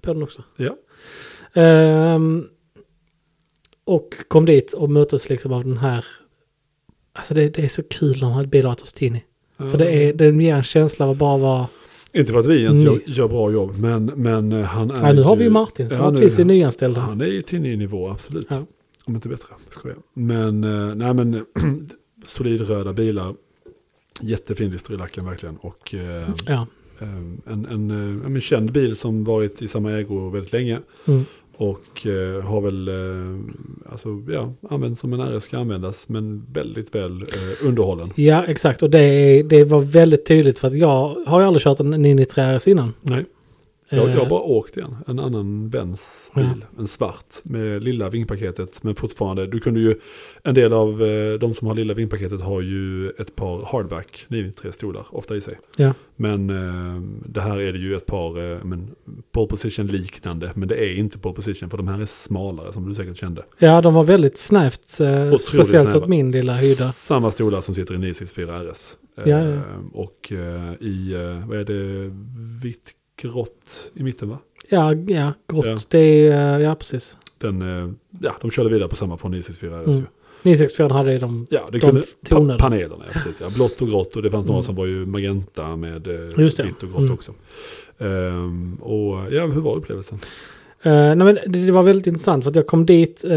på den också. Ja. Ehm, och kom dit och möttes liksom av den här. Alltså det, det är så kul när man har ett bil att oss in i. För det är, den ger en känsla av att bara vara... Eh, Inte för att vi ens Ny. gör, gör bra jobb, men, men eh, han är Ja, nu har vi ju ju Martin som Ja, ja, nu- precis är nyanställd. Han är ju till ny nivå, absolut. Ja. Om inte bättre, skojar. Men, eh, nej men, solid röda bilar. Jättefin lyster i lacken verkligen. Och eh, Ja. eh, en, en, eh, ja, men känd bil som varit i samma ägo väldigt länge. Mm. Och eh, har väl, eh, alltså ja, använts som en RS ska användas. Men väldigt väl eh, underhållen. Ja, exakt. Och det, det var väldigt tydligt för att jag har ju aldrig kört en 993 RS innan. Nej. Jag, Eh, jag har bara åkt igen, en annan väns Ja. bil, en svart med lilla vingpaketet. Men fortfarande, du kunde ju, en del av eh, de som har lilla vingpaketet har ju ett par hardback, 993 stolar, ofta i sig. Ja. Men eh, det här är det ju ett par, eh, men, pole position liknande, men det är inte pole position för de här är smalare som du säkert kände. ja, de var väldigt snävt. Eh, Otroligt speciellt snäva. åt min lilla hydda. Samma stolar som sitter i 964 RS. Eh, Ja, ja. Och eh, i, eh, vad är det, vitt grått i mitten va? Ja, ja grått. Ja. Det är, eh, ja precis. den, eh, ja, de körde vidare på samma från 964 RS. Mm. ju. 964 hade ju de. Ja, det De kunde, pa tonade. panelerna, ja, precis. Ja, blått och grått och det fanns några Mm. som var ju magenta med eh, Just det. vitt och grått Mm. också. Ehm, och ja, hur var upplevelsen? Eh, nej, men det, det var väldigt intressant för att jag kom dit. Eh,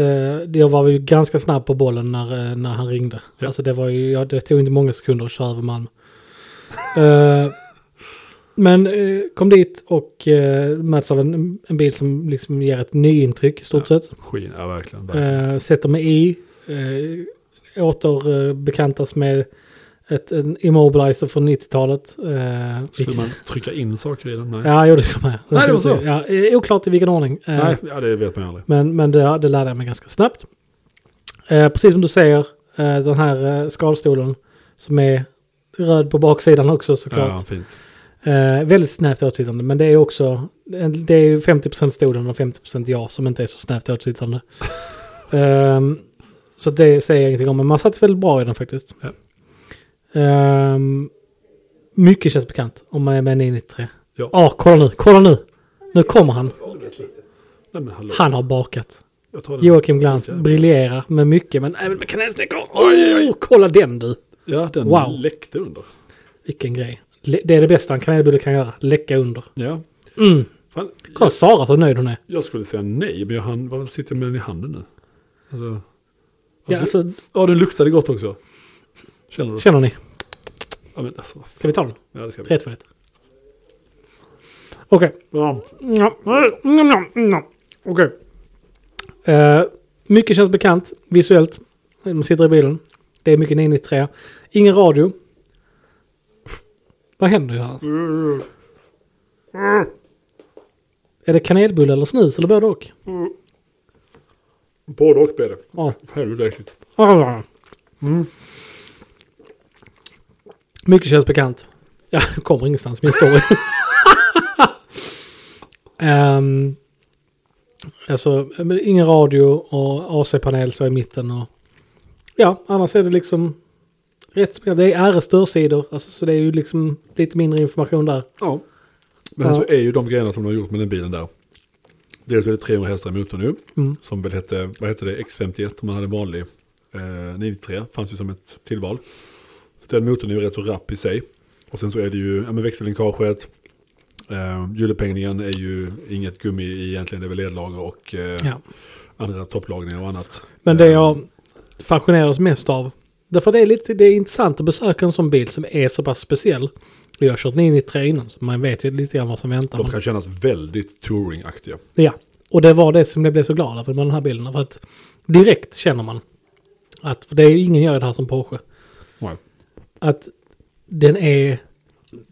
jag var ju ganska snabb på bollen när, eh, när han ringde. Ja. Alltså det var ju, ja, det tog inte många sekunder att köra över Malmö. Eh, men eh, kom dit och eh, möts av en, en bil som liksom ger ett nyintryck i stort sett. Skin, ja verkligen. verkligen. Eh, sätter mig i. Eh, återbekantas med ett, en immobilizer från 90-talet. Eh, Skulle vilket- man trycka in saker i den? Nej, Ja, jo, det ska man göra. Nej, det var så. Ja, eh, oklart i vilken ordning. Eh, Nej ja, det vet man ju aldrig. Men, men det, det lärde jag mig ganska snabbt. Eh, precis som du säger, eh, den här eh, skalstolen som är röd på baksidan också såklart. Ja, fint. Eh, väldigt snävt åtsittande, men det är också en- det är ju 50% stolen och 50% jag som inte är så snävt åtsittande. Ehm, så det säger jag ingenting om, men man satt väldigt bra i den faktiskt. Ja. Ehm, mycket känns bekant om man är med i 93. Ja. ah, kolla nu, kolla nu! Nu kommer han. Nej, men hallå. Han har bakat. Jag tar den. Joakim Glans briljerar med mycket, men även med kanelsnäckor. Oj, oj, kolla den du! Ja, den Wow. läckte under. Vilken grej. Le- Det är det bästa en kanelbulle kan göra, läcka under. Ja. Mm. Fan, Kolla Sara så nöjd hon är. jag skulle säga nej, men jag hann, varför sitter jag med den i handen nu? Alltså, Ja, alltså, ja, den luktade gott också. Känner du? Känner ni? Ja, men alltså, vad fan. Ska vi ta den? ja, det ska vi. 3, 2, 1. Okej. Ja. Ja. Mm, mm, mm. Okej. Eh, mycket känns bekant visuellt. Man sitter i bilen. Det är mycket 993. Ingen radio. Vad händer Johannes? Är det kanelbulle eller snus eller både och? Både och blev det. Ja. Helvete äckligt. Mm. Mycket känns bekant. Jag kommer ingenstans min story. um, alltså, men ingen radio och AC-panel så i mitten. Och, ja, annars är det liksom rätt spel. Det är RS-störsidor, alltså, så det är ju liksom lite mindre information där. Ja. Men Ja. sen så är ju de grejerna som de har gjort med den bilen där. Dels är det 300 hästar i motorn nu. Mm. Som väl hette, vad hette det, X51 om man hade en vanlig. Eh, 93 fanns ju som ett tillval. Så den motorn är ju rätt så rapp i sig. Och sen så är det ju, ja men växellänkaget. Eh, hjulupphängningen är ju inget gummi i egentligen, det är väl ledlager och eh, Ja. andra topplagningar och annat. Men det Eh, jag fascineras mest av, därför det är lite det är intressant att besöka en sån bil som är så pass speciell. Jag har kört 993 innan, så man vet ju lite grann vad som väntar. De kan kännas väldigt touringaktiga. Ja, och det var det som jag blev så glad över med den här bilden. För att direkt känner man att, för det är ju ingen gör det här som Porsche, Nej. att den är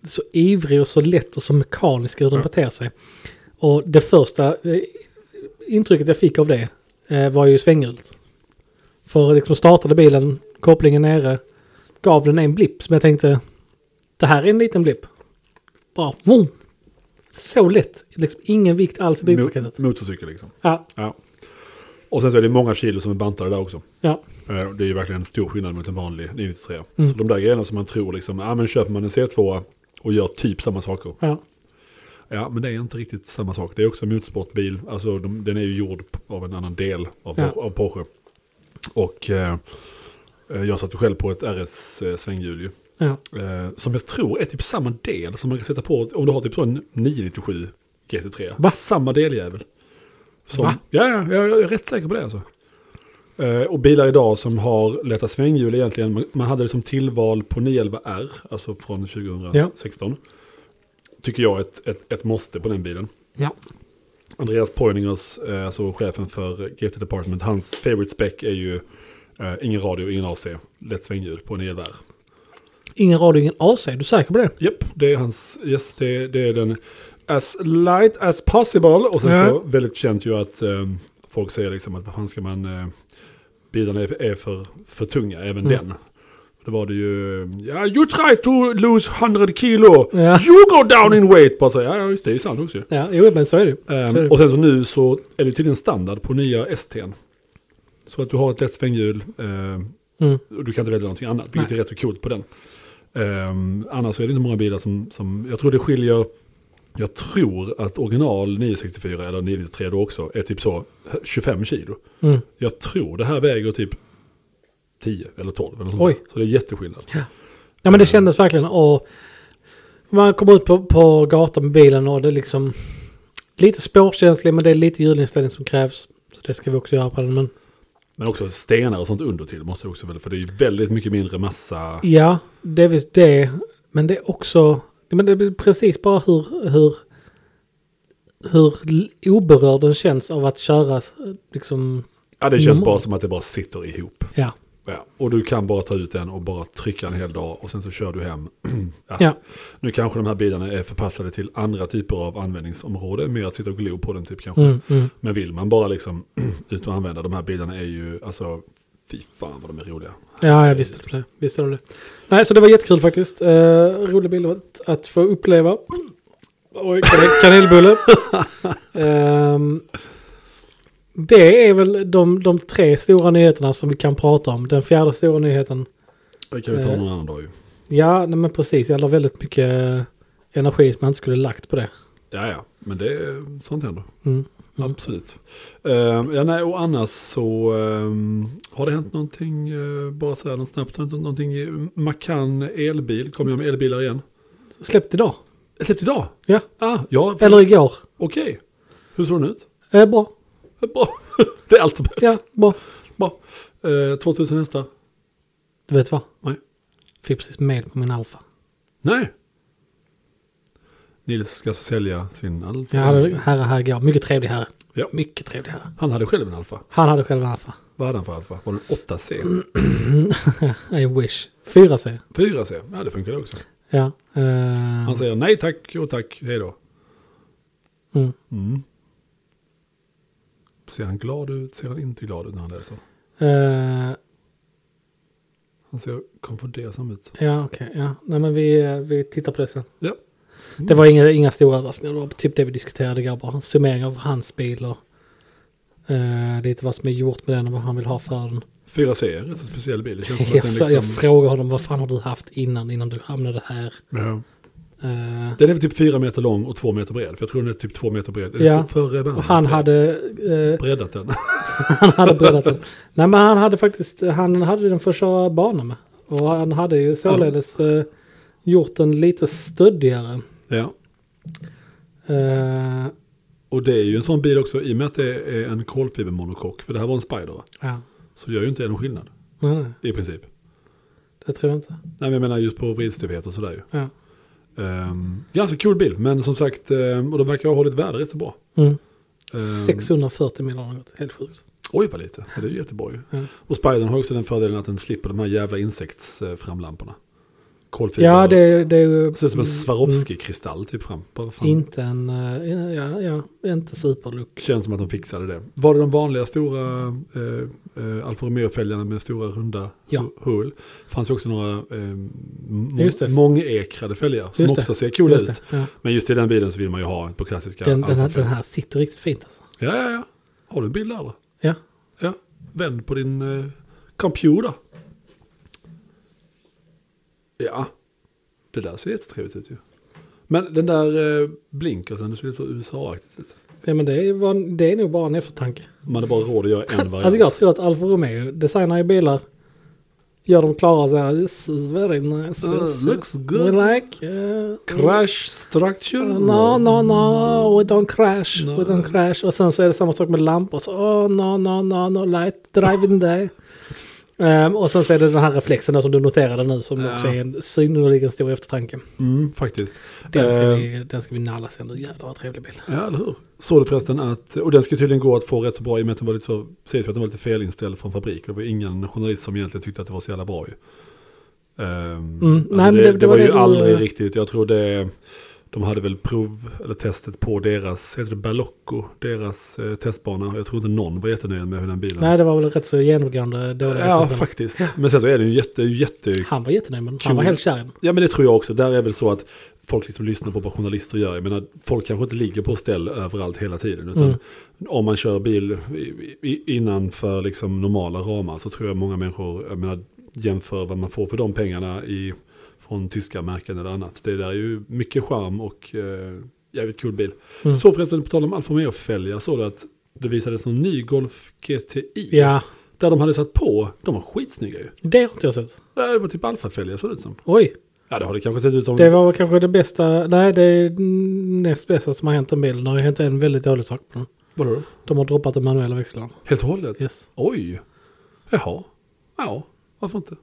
så ivrig och så lätt och så mekanisk hur den Ja. beter sig. Och det första eh, intrycket jag fick av det eh, var ju svänghjulet. För liksom startade bilen, kopplingen nere, gav den en blipp som jag tänkte, det här är en liten blipp. Bara, vroom. Så lätt, liksom ingen vikt alls i drivpaketet. Mo- motorcykel liksom. Ja, Ja. Och sen så är det många kilo som är bantade där också. ja. Eh, Det är ju verkligen en stor skillnad mot en vanlig 93. Så de där grejerna som man tror liksom, ja men köper man en C2 och gör typ samma saker. Ja, Ja men det är inte riktigt samma sak. Det är också en motorsportbil, alltså de, den är ju gjord p- av en annan del av, Ja. av Porsche. Och eh, eh, jag satt ju själv på ett RS-svänghjul ju. ja, Eh, som jag tror är typ samma del som man kan sätta på om du har typ så en 997 GT3. Va? Samma deljävel. Som, Va? Ja, ja, jag, jag är rätt säker på det alltså. Eh, och bilar idag som har lätta svänghjul egentligen, man, man hade det som tillval på 911R, alltså från 2016. Tycker jag är ett, ett, ett måste på den bilen. ja, Andreas Poiningers, eh, alltså chefen för GT Department, hans favorite spec är ju eh, ingen radio, ingen AC, lätt svänghjul på 911R. Ingen radio, ingen AC. Är du säker på det? Japp, det är hans, yes, det, det är den as light as possible. Och sen Ja. så väldigt känt ju att eh, folk säger liksom att vad fan ska man, eh, bilarna är, är för, för tunga, även Mm. den. Då var det ju, ja, you try to lose 100 kilo, Ja. you go down in weight. Bara så, ja, ja, just det, det är sant också ju. Ja, jo, men så är det ju. Ehm, Så är det. och sen så nu så är det tydligen standard på nya ST'n. Så att du har ett lätt svänghjul, ehm, Mm. och du kan inte välja någonting annat, vilket Nej. är rätt så coolt på den. Ehm, annars så är det inte många bilar som, som, jag tror det skiljer, jag tror att original 964 eller 993 då också är typ så 25 kilo. Mm. Jag tror det här väger typ 10 eller 12 eller sånt Oj. där. Så det är jätteskillnad. Ja, men det kändes verkligen. Och man kommer ut på, på gatan med bilen och det är liksom lite spårkänslig, men det är lite hjulinställning som krävs. Så det ska vi också göra på den. Men Men också stenar och sånt under till måste du också väl, för det är ju väldigt mycket mindre massa. ja, det är visst det. Men det är också, men det är precis bara hur, hur, hur l- oberörd den känns av att köra liksom, Ja, det känns Normalt. bara som att det bara sitter ihop. ja. Ja, och du kan bara ta ut den och bara trycka en hel dag och sen så kör du hem. ja. Ja, Nu kanske de här bilarna är förpassade till andra typer av användningsområde, mer att sitta och glo på den typ kanske. mm, mm. Men vill man bara liksom ut och använda de här bilarna är ju, alltså, fy fan vad de är roliga. Ja, jag visste det. Visste det. Nej, så det var jättekul faktiskt. Eh, rolig bild att, att få uppleva. Oj, kanel, kanelbulle. Ehm, det är väl de, de tre stora nyheterna som vi kan prata om. Den fjärde stora nyheten. Det kan vi ta Eh. någon annan dag ju. Ja, nej, men precis. Jag la väldigt mycket eh, energi som man inte skulle lagt på det. Ja, ja, men det är sånt händer. Mm. Mm. Absolut. Ehm, ja, nej, och annars så ehm, har det hänt någonting, eh, bara så här något snabbt, har det hänt någonting i Macan elbil, kommer jag med elbilar igen? Släppt idag. Släppt idag? Ja. Ah, ja, Eller igår. Okej. Hur såg den ut? Eh, bra. Bra. Det är allt som Ja, behövs. bra. Bra. Eh, 2000 hästar? Du vet vad? Nej. Fick precis med på min Alfa. Nej. Nils ska alltså sälja sin Alfa. Jag hade herre här igår. Mycket trevlig herre. Ja. Mycket trevlig herre. Han hade själv en Alfa. Han hade själv en Alfa. Vad hade han för Alfa? Var det en 8C? I wish. 4C. 4C? Ja, det funkar också. Ja. eh, Han säger nej tack, jo tack, hej då. mm. Mm. Ser han glad ut? Ser han inte glad ut när han läser? Eh, Han ser konfundersam ut. ja, okej. ja. Nej, men vi, eh, vi tittar på det sen. Ja. Det var inga, inga stora överraskningar. Det var typ det vi diskuterade grabbar. Summering av hans bil och eh, lite vad som är gjort med den och vad han vill ha för den. 4C är en rätt så speciell bil. Det känns som att Jag, den sa- liksom... jag frågar honom vad fan har du haft innan, innan du hamnade här? Ja. Eh, Den är väl typ fyra meter lång och två meter bred. För jag tror den är typ två meter bred. Eller Ja. så förre och världen. han hade, eh, Breddat den. han hade breddat den. Nej men han hade faktiskt, han hade den för att köra bana med. Och han hade ju således eh, gjort den lite stöddigare. ja. Eh, Och det är ju en sån bil också i och med att det är en kolfibermonokock. För det här var en Spider. va? ja, Så gör ju inte det någon skillnad. nej, nej, I princip. det tror jag inte. Nej men jag menar just på vridstyvhet och sådär ju. Ja. Ehm, ganska kul bil. Men som sagt. ehm, och de verkar ha hållit värde rätt så bra. Mm. Ehm, 640 mil har han gått, helt sjukt. Oj vad lite. Ja, det är ju jättebra ju. Ja. Och Spidern har också den fördelen att den slipper de här jävla insektsframlamporna. Kolfiber. Ja, det, det är ju... Typ Ser ut som en Mm, Swarovski-kristall typ fram. Vad fan? Inte en, eh, ja, ja, inte superlook. Känns som att de fixade det. Var det de vanliga stora eh, eh, Alfa Romeo-fälgarna med stora runda Ja. hu- hål? Fanns ju också några eh, må- Just det. mångekrade fälgar som Just det. också ser coola Just ut. det, ja. Men just i den bilen så vill man ju ha på klassiska den, den, här, Alfa-fälgar. den här sitter riktigt fint alltså. Ja, ja, ja. Har du en bild där? eller? Ja. Ja. Vänd på din eh, computer. Ja. Det där ser jättetrevligt ut ju. Men den där eh, blinkersen, det ser lite så USA-aktigt ut. Ja men det är, ju bara- det är nog bara en eftertanke. Man hade bara råd att göra en variant. Alltså jag tror att Alfa Romeo designar ju bilar. Gör dem klara så här. This is very nice. Uh, yes, looks yes. good. We like. Uh, Crash structure? uh, No, no, no. We don't crash. No. We don't crash. Och sen så är det samma sak med lampor. Så, oh, no, no, no, no light. Driving day. Ehm, och sen så är det den här reflexen där som du noterade nu som Ja. också är en synnerligen stor eftertanke. Ehm, Mm, faktiskt. Den ska, Eh, vi, den ska vi nalla sen. Du jävlar vad trevlig bild. Ja, eller hur? Såg du förresten att, och den ska tydligen gå att få rätt så bra i och med att den var lite så, sägs ju att den var lite felinställd från fabrik. Det var ju ingen journalist som egentligen tyckte att det var så jävla bra ju. Ehm, Mm, alltså nej, men det, det- det, det var var det ju du- aldrig riktigt, jag tror det, de hade väl prov, eller testet på deras, heter det Balocco, deras eh, testbana. Jag tror inte någon var jättenöjd med hur den bilen... Nej det var väl rätt så genomgående dåliga ja, exempel. faktiskt. Men sen så är den ju jätte, jätte Han var jättenöjd men han var Kul. helt kär i den. Ja men det tror jag också. Där är väl så att folk liksom lyssnar på vad journalister gör. Jag menar, folk kanske inte ligger på ställ överallt hela tiden. Utan Mm. om man kör bil i- i- innanför liksom normala ramar så tror jag många människor jag menar, jämför vad man får för de pengarna i, från tyska märken eller annat. Det där är ju mycket charm och eh, jävligt cool bil. Mm. Så förresten, på tal om Alfa Romeo-fälgar såg du att det visades någon ny Golf GTI. Ja, Där de hade satt på, de var skitsnygga ju. det har inte jag sett. Det var typ Alfa-fälgar såg det ut som. Oj, Ja det har det kanske sett ut som. det var väl kanske det bästa. Nej, det är näst bästa som har hänt en bil. Det har ju hänt en väldigt dålig sak på den. Vadå då? De har droppat den manuella växlaren. Helt och hållet? Yes. Oj. Jaha. Ja, varför inte?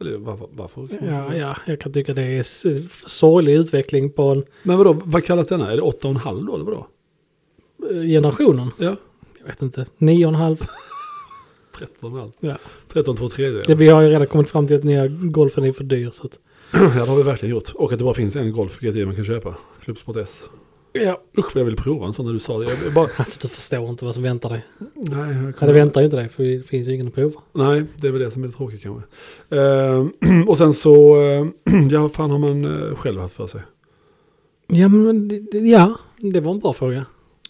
Eller varför? varför? Ja, ja, jag kan tycka det är s- sorglig utveckling på en, Men vadå, vad kallas denna? Är det 8,5 då eller vadå? eh, generationen. Ja, Jag vet inte, nio och en halv. 13,5. Ja. 13 2 tredjedelar. Det, vi har ju redan kommit fram till att nya golfen är för dyr. Så att, Ja, det har vi verkligen gjort. Och att det bara finns en Golf GTI man kan köpa. Klubbsport S. ja. Usch vad jag ville prova en sån när du sa det. Jag bara, Alltså du förstår inte vad som väntar dig. nej, jag Ja, kommer- det väntar ju inte dig för det finns ju ingen att prova. nej, det är väl det som är det tråkiga kanske. Ehm, och sen så, eh, ja vad fan har man eh, själv haft för sig? Ja, men det- det- ja, det var en bra fråga.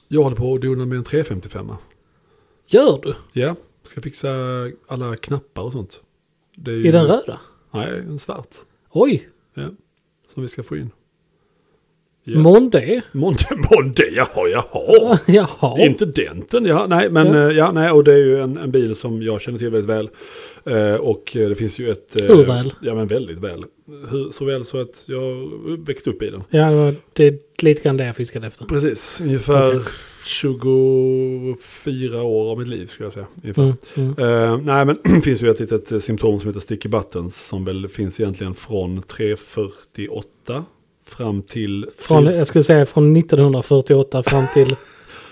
Jag håller på att dona med en 355. Gör du? Ja, ska fixa alla knappar och sånt. Det är ju- I den röda? Nej, en svart. Oj, Ja, som vi ska få in. Ja. yeah. Monday? Monte, Monte, jaha, jaha. Jaha. Inte denten, ja, nej, men Ja. ja. ja, nej, och det är ju en, en bil som jag känner till väldigt väl. Eh, och eh, det finns ju ett... eh, Hur väl? Ja, men väldigt väl. Hur, så väl så att jag växte upp i den. Ja, det var- det är lite grann det jag fiskade efter. Precis, ungefär Okej. 24 år av mitt liv skulle jag säga. Ungefär. Mm, mm. Eh, nej, men det finns ju ett litet eh, symptom som heter sticky buttons som väl finns egentligen från 348 fram till... Från, eh, jag skulle säga från 1948 fram till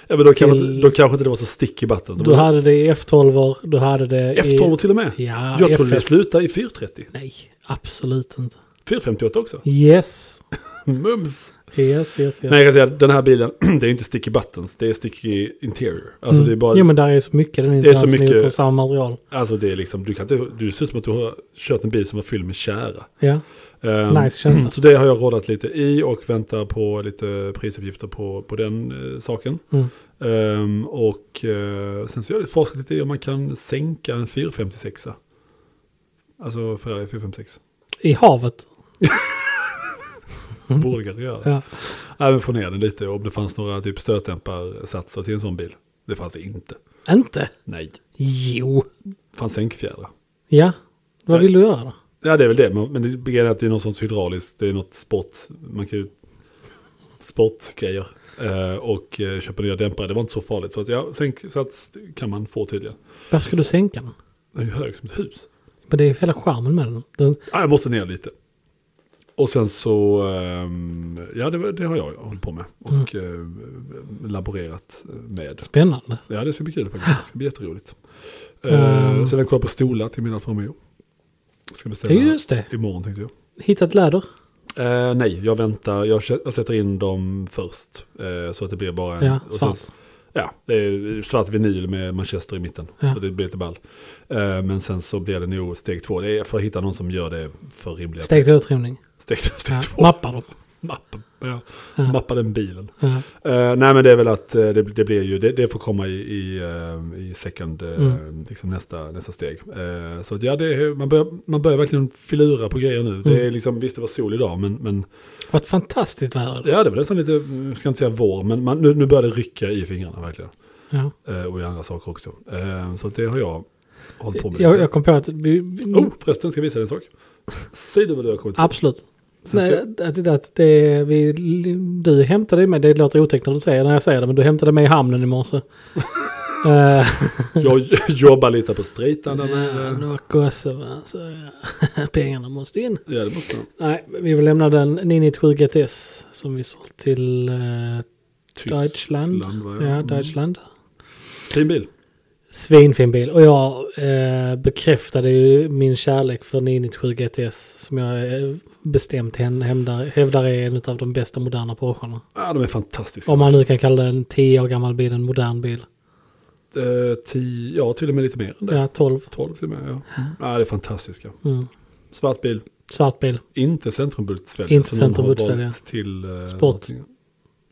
Ja, men då, kan till- man, då kanske inte det var så sticky buttons. du hade det i F12, du hade det i... F12 till och med. Ja, jag trodde F1. det slutade i 430. Nej, absolut inte. 458 också. Yes. Mums! Yes, yes, yes. Nej, jag kan säga att den här bilen, det är inte sticky buttons, det är sticky interior. Alltså Mm. det är bara, Jo men där är så mycket den inte är så alls mycket- gjort av samma material. alltså det är liksom, du kan inte, du ser ut som att du har kört en bil som var fylld med tjära. Ja, Ehm, nice känsla. Så det har jag rådat lite i och väntar på lite prisuppgifter på, på den eh, saken. Mm. Ehm, och eh, sen så har jag lite forskat lite i om man kan sänka en 456. Alltså Ferrari 456. I havet. Borde kanske göra det. Mm. Ja. Även få ner den lite om det fanns några typ stötdämparsatser till en sån bil. Det fanns det inte. Inte? Nej. Jo. Det fanns sänkfjädrar. Ja. Vad vill du göra då? Ja det är väl det. Men men det grejen är att det är något sånt hydrauliskt. Det är något sport. Man kan ju... Sportgrejer. Eh, och eh, köpa nya dämpare. Det var inte så farligt. Så att ja, sänksats kan man få tydligen. Varför ska du sänka den? Den är ju hög som ett hus. Men det är ju hela charmen med den. den Ah, jag måste ner lite. Och sen så, ehm, ja det, var- det har jag hållit på med. Och Mm. eh, laborerat med. spännande. Ja det ska bli kul faktiskt. Det ska bli jätteroligt. Eh, Mm. Sen har jag kollat på stolar till min Alfa Romeo. Ska Ja, beställa just det. imorgon tänkte jag. Hittat läder. Eh, nej, jag väntar. Jag, kä- jag sätter in dem först. Eh, så att det blir bara en... Ja, och svart. Sen, ja, det är svart vinyl med Manchester i mitten. Ja. Så det blir lite ball. Eh, men sen så blir det nog steg två. Det är för att hitta någon som gör det för rimliga... Steg till utrymning. steg, steg Ja. två. Mappar dem. Mappa, ja. Ja. Mappa den bilen. Ja. Eh, nej men det är väl att eh, det, det blir ju, det, det får komma i, i, eh, i second, eh, Mm. liksom nästa, nästa steg. Eh, så att ja, det är, man, börjar, man börjar verkligen filura på grejer nu. Mm. Det är liksom, visst det var sol idag men, men Vad fantastiskt väder. Ja, det var nästan lite, jag ska inte säga vår, men man, nu, nu börjar det rycka i fingrarna verkligen. Ja. Eh, och i andra saker också. Eh, så att det har jag hållit på med. Jag, lite. jag kom på att... Vi, vi, Oh, förresten, ska jag visa dig en sak? Säg du vad du har kommit på. Absolut. Sen Nej, ska- att, att, att det, vi, du hämtade mig, det låter otäckt när du säger när jag säger det, men du hämtade mig i hamnen i morse. Eh, Jag jobbar lite på strejtan där Ja, nere. några gosse va. Så, ja. Pengarna måste in. Ja, det måste man. Nej, vi vill lämna den 997 GTS som vi sålt till eh, Deutschland. var jag. Ja, Mm. Deutschland. Fin bil. Svinfin bil. Och jag eh, bekräftade ju min kärlek för 997 GTS som jag eh, bestämt hän- hävdar, hävdar är en av de bästa moderna Porscharna. Ja, de är fantastiska. Om man nu kan kalla den 10 år gammal bil en modern bil. Eh, tio, ja, till och med lite mer än det. Ja, 12. 12 till och med, ja. Ja, det är fantastiska. Mm. Svart bil. Svart bil. Inte centrumbultsfälgen. Inte som någon har centrumbultsfälgen. valt Till eh, Sport. någonting.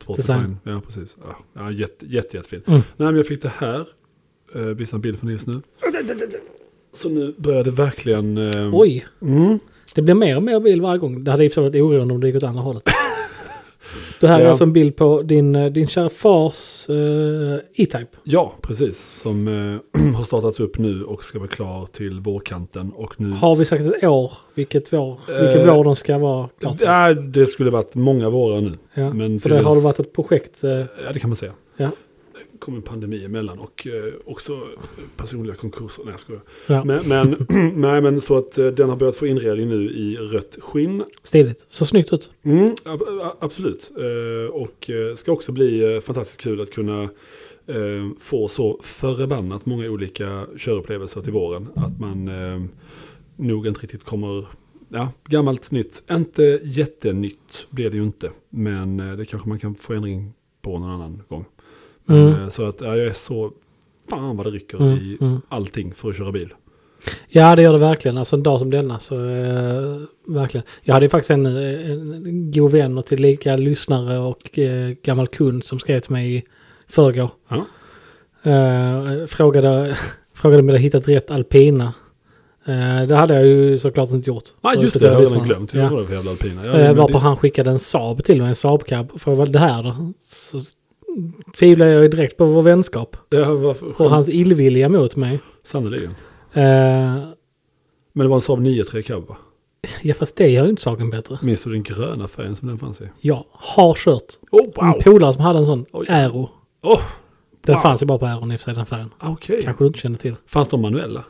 Sportdesign. Design. Ja, precis. Ja, ja, jätte, jätte, jättefin. Mm. Nej, men jag fick det här. Eh, visa en bild från Nils nu. Så nu börjar det verkligen... Eh, Oj, Mm. det blir mer och mer bil varje gång. Det hade i och för sig varit oroande om det gick åt andra hållet. Det här är Ja. alltså en bild på din, eh, din kära fars eh, E-Type. Ja, precis. Som eh, har startats upp nu och ska vara klar till vårkanten. Och nu... Har vi sagt ett år? Vilket vår, Eh, vilken vår de ska vara klar till? Ja, det skulle varit många vårar nu. Ja, men för det har finns- det varit ett projekt. eh, Ja, det kan man säga. Ja. Det kom en pandemi emellan och eh, också personliga konkurser. Nej, jag skojar. ja, Men, men, nej, men så att eh, den har börjat få inredning nu i rött skinn. stiligt. Så snyggt ut. Mm, ab- a- absolut. Eh, och eh, ska också bli eh, fantastiskt kul att kunna eh, få så förbannat många olika körupplevelser till våren. Att man eh, nog inte riktigt kommer... Ja, gammalt nytt. Inte jättenytt blir det ju inte. Men eh, det kanske man kan få ändring på någon annan gång. Men, Mm. eh, så att ja, jag är så... Fan vad det rycker Mm, i mm. allting för att köra bil. Ja, det gör det verkligen. Alltså en dag som denna så eh, verkligen. Jag hade ju faktiskt en, eh, en god vän och tillika lyssnare och eh, gammal kund som skrev till mig i förrgår. Ja. Eh, frågade, frågade om jag hade hittat rätt alpina. Eh, det hade jag ju såklart inte gjort. Ja, Så just det. jag Jag har redan lyssnade. glömt. Hur Ja. var det för jävla alpina? Ja, Eh, men varpå det- han skickade en Saab till mig, en Saab Cab. För vad det här då? Så tvivlade jag ju direkt på vår vänskap. Ja, varför? Och hans illvilja mot mig. Sannerligen. Eh, Men det var en Saab 9-3 cab va? ja, fast det gör ju inte saken bättre. Minns du den gröna färgen som den fanns i? Jag har kört Oh, En polare som hade en sån Oj. Aero. Oh, Den Wow. fanns ju bara på Aeron i och för sig, den färgen. Ah, Okej. Kanske du inte känner till. Fanns de manuella?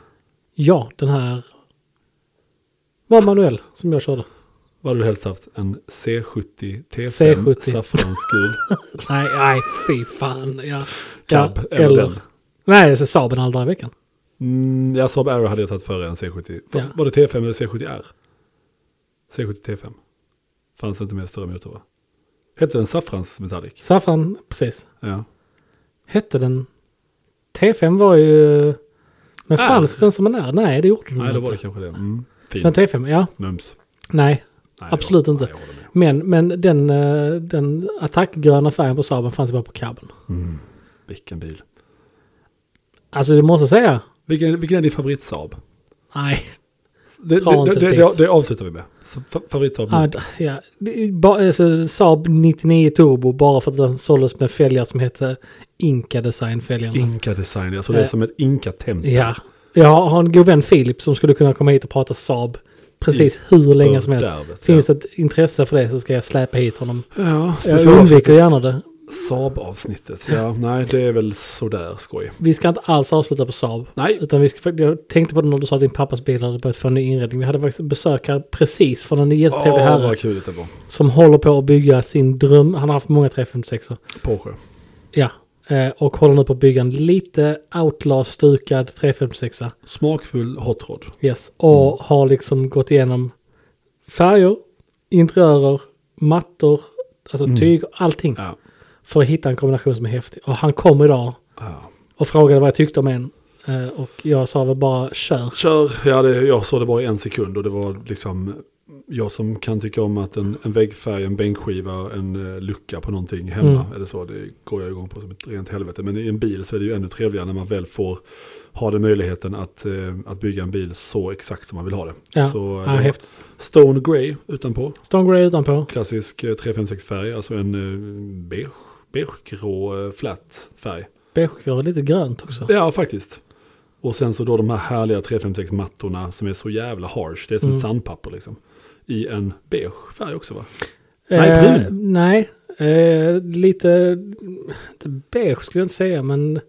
Ja, den här var manuell som jag körde. Vad hade du helst haft? En C70 T5 C70. saffransgul Nej, nej, fy fan. Ja. cab? ja, eller den? Nej, så Saaben alla dagar i veckan. Mm, ja, Saab Aero hade jag tagit före en C70. Va- Ja. Var det T5 eller C70R? C70 T5. Fanns inte med större motor va? Hette den Saffrans Metallic? Saffran, precis. Ja. Hette den... T5 var ju... Men Är. fanns den som en är? Nej, det gjorde den Ah. Nej, då inte. var det kanske det. Mm. Fin. Men T5, ja. Mums. Nej. Nej, Absolut jag, inte. Nej, jag håller med. Men, men den, eh, den attackgröna färgen på Saaben fanns ju bara på cabben. Vilken bil. Alltså det måste jag säga. Vilken, vilken är din favorit Saab? Nej. Det, Ta det, inte det, dit. det, det avslutar vi med. Så, fa- favorit Saab? Ja, d- ja. Det är ba- alltså, Saab 99 Turbo bara för att den såldes med fälgar som hette Inka Design fälgarna. Inka design. Alltså det är Eh. som ett inka temp. ja. Jag har en god vän Filip som skulle kunna komma hit och prata Saab precis I- hur länge som helst. Fördärvet, Finns det ett intresse för det så ska jag släpa hit honom. ja. Ja, Jag special- undviker gärna det. Saab-avsnittet. Ja, nej, det är väl sådär skoj. Vi ska inte alls avsluta på Saab. Nej, Utan vi ska, fakt- jag tänkte på det när du sa att din pappas bil hade börjat få en ny inredning. Vi hade faktiskt besökare precis från en åh jättetrevlig herre vad kul det var. som håller på att bygga sin dröm. Han har haft många 356 Porsche. Ja, eh, och håller nu på att bygga en lite outlaw-stukad 356 Smakfull hot rod. Yes, och har liksom gått igenom färger, interiörer, mattor, alltså tyg, allting. Ja. För att hitta en kombination som är häftig. Och han kom idag ja. och frågade vad jag tyckte om en. Eh, och jag sa väl bara kör. Kör, ja, det, jag såg det bara i en sekund och det var liksom jag som kan tycka om att en, en väggfärg, en bänkskiva, en eh, lucka på någonting hemma Mm. eller så, det går jag igång på som ett rent helvete. Men i en bil så är det ju ännu trevligare när man väl får ha den möjligheten att, eh, att bygga en bil så exakt som man vill ha det. Ja, Så, Ja, eh, häftigt. Stone Grey utanpå, Stone Grey utanpå. klassisk eh, 356-färg, alltså en eh, beige, beigegrå eh, flat färg. Beige och lite grönt också. Ja, faktiskt. Och sen så då de här härliga 356-mattorna som är så jävla harsh. Det är som Mm. ett sandpapper liksom. I en beige färg också va? Nej, Eh, nej, eh, lite, inte beige skulle jag inte säga, men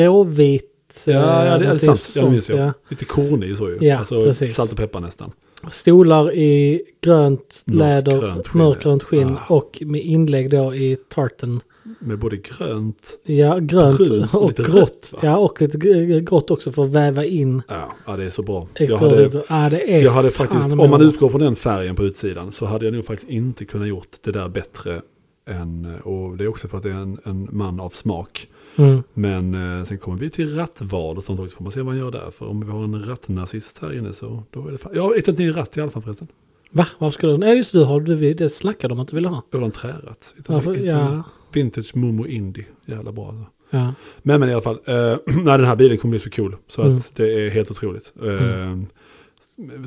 gråvit. Ja, eh, ja det är någonting sant. Ja, det sånt, minns jag. ja. Lite kornig så ju. Ja, alltså precis. salt och peppar nästan. Stolar i grönt Mörkgrönt läder, skinn. mörkgrönt skinn Ah. och med inlägg då i tartan. Med både grönt, Ja, grönt brunt och, och lite grått. rött. Va? Ja, och lite g- grått också för att väva in Ja. ja, det är så bra. Jag extra hade, hade, ah, det är jag hade fan faktiskt, en om man bra. utgår från den färgen på utsidan så hade jag nog faktiskt inte kunnat gjort det där bättre än, och det är också för att det är en, en man av smak. Mm. Men eh, sen kommer vi till rattval och sånt också. Får man se vad han gör där. För om vi har en rattnazist här inne så då är det fan. Jag vet inte, en ratt i alla fall förresten. Va? Varför skulle den? Ja, just det, du har, du, det snackade om att du ville ha. Eller en träratt. Hitta- Varför? hitta- Ja. Vintage Momo Indie. Jävla bra alltså. Ja. Men, men i alla fall. Eh, nej, den här bilen kommer bli så cool. Så Mm. att det är helt otroligt. Eh,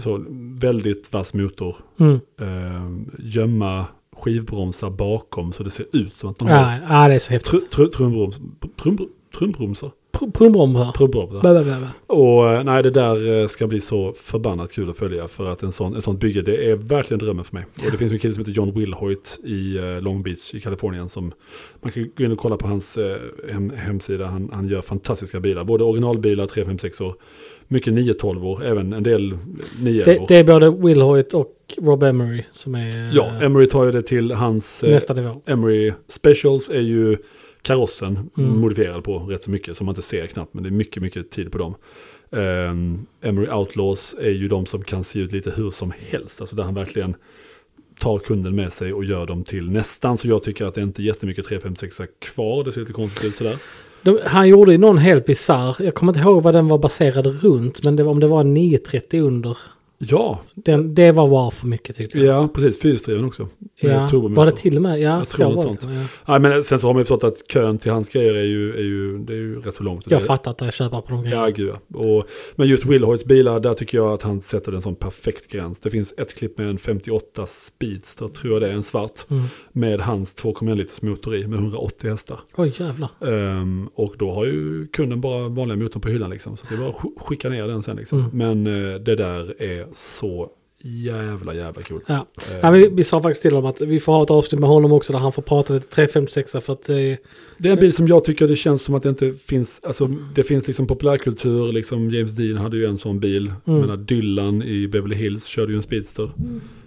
så, väldigt vass motor. Mm. Eh, gömma skivbromsar bakom så det ser ut som att de har Ja, ja, det är så häftigt. tr- tr- trumbroms- br- trumbromsar. Pr- Prumbrom här. Trumbromsar. Bä, bä, bä, bä. Och eh, nej, det där eh, ska bli så förbannat kul att följa för att en sån, en sånt bygge, det är verkligen drömmen för mig. Och det finns en kille som heter John Wilhoit i eh, Long Beach i Kalifornien som man kan gå in och kolla på hans eh, hem, hemsida. Han, han gör fantastiska bilar, både originalbilar, 356 år, mycket 912 år, även en del 9 Det, år. det är både Will Hoyt och Rob Emery som är Ja, eh, Emery tar ju det till hans... eh, nästa nivå. Emery Specials är ju karossen Mm. modifierad på rätt så mycket som man inte ser knappt men det är mycket, mycket tid på dem. Um, Emery Outlaws är ju de som kan se ut lite hur som helst, alltså där han verkligen tar kunden med sig och gör dem till nästan så jag tycker att det är inte jättemycket 356 kvar, det ser lite konstigt ut sådär. De, han gjorde ju någon helt bisarr. Jag kommer inte ihåg vad den var baserad runt. Men det var, om det var en 930 under. Ja, Den, det var wow för mycket tyckte jag. ja precis, fyrhjulsdriven också. Med Ja, turbomotor. var det till och med? Ja, Jag tror så något var det. sånt. Ja. Nej, men sen så har man ju förstått att kön till hans grejer är ju, är ju, det är ju rätt så långt. Jag Det- fattar att jag köper på de grejerna. Ja, gud ja. Och, men just Wilhoits bilar, där tycker jag att han sätter en sån perfekt gräns. Det finns ett klipp med en 58 Speedster, tror jag det är, en svart. Mm. Med hans 2,1 liters motor i, med 180 hästar. Oj jävlar. Ehm, och då har ju kunden bara vanliga motorn på hyllan liksom. Så det är bara att sk- skicka ner den sen liksom. Mm. Men eh, det där är så jävla, jävla coolt. Ja. Ehm, Nej, men vi, vi sa faktiskt till honom att vi får ha ett avsnitt med honom också där han får prata lite 356 för att det är... Det är en bil som jag tycker det känns som att det inte finns, alltså det finns liksom populärkultur, liksom James Dean hade ju en sån bil. Mm. Jag menar Dylan i Beverly Hills körde ju en Speedster.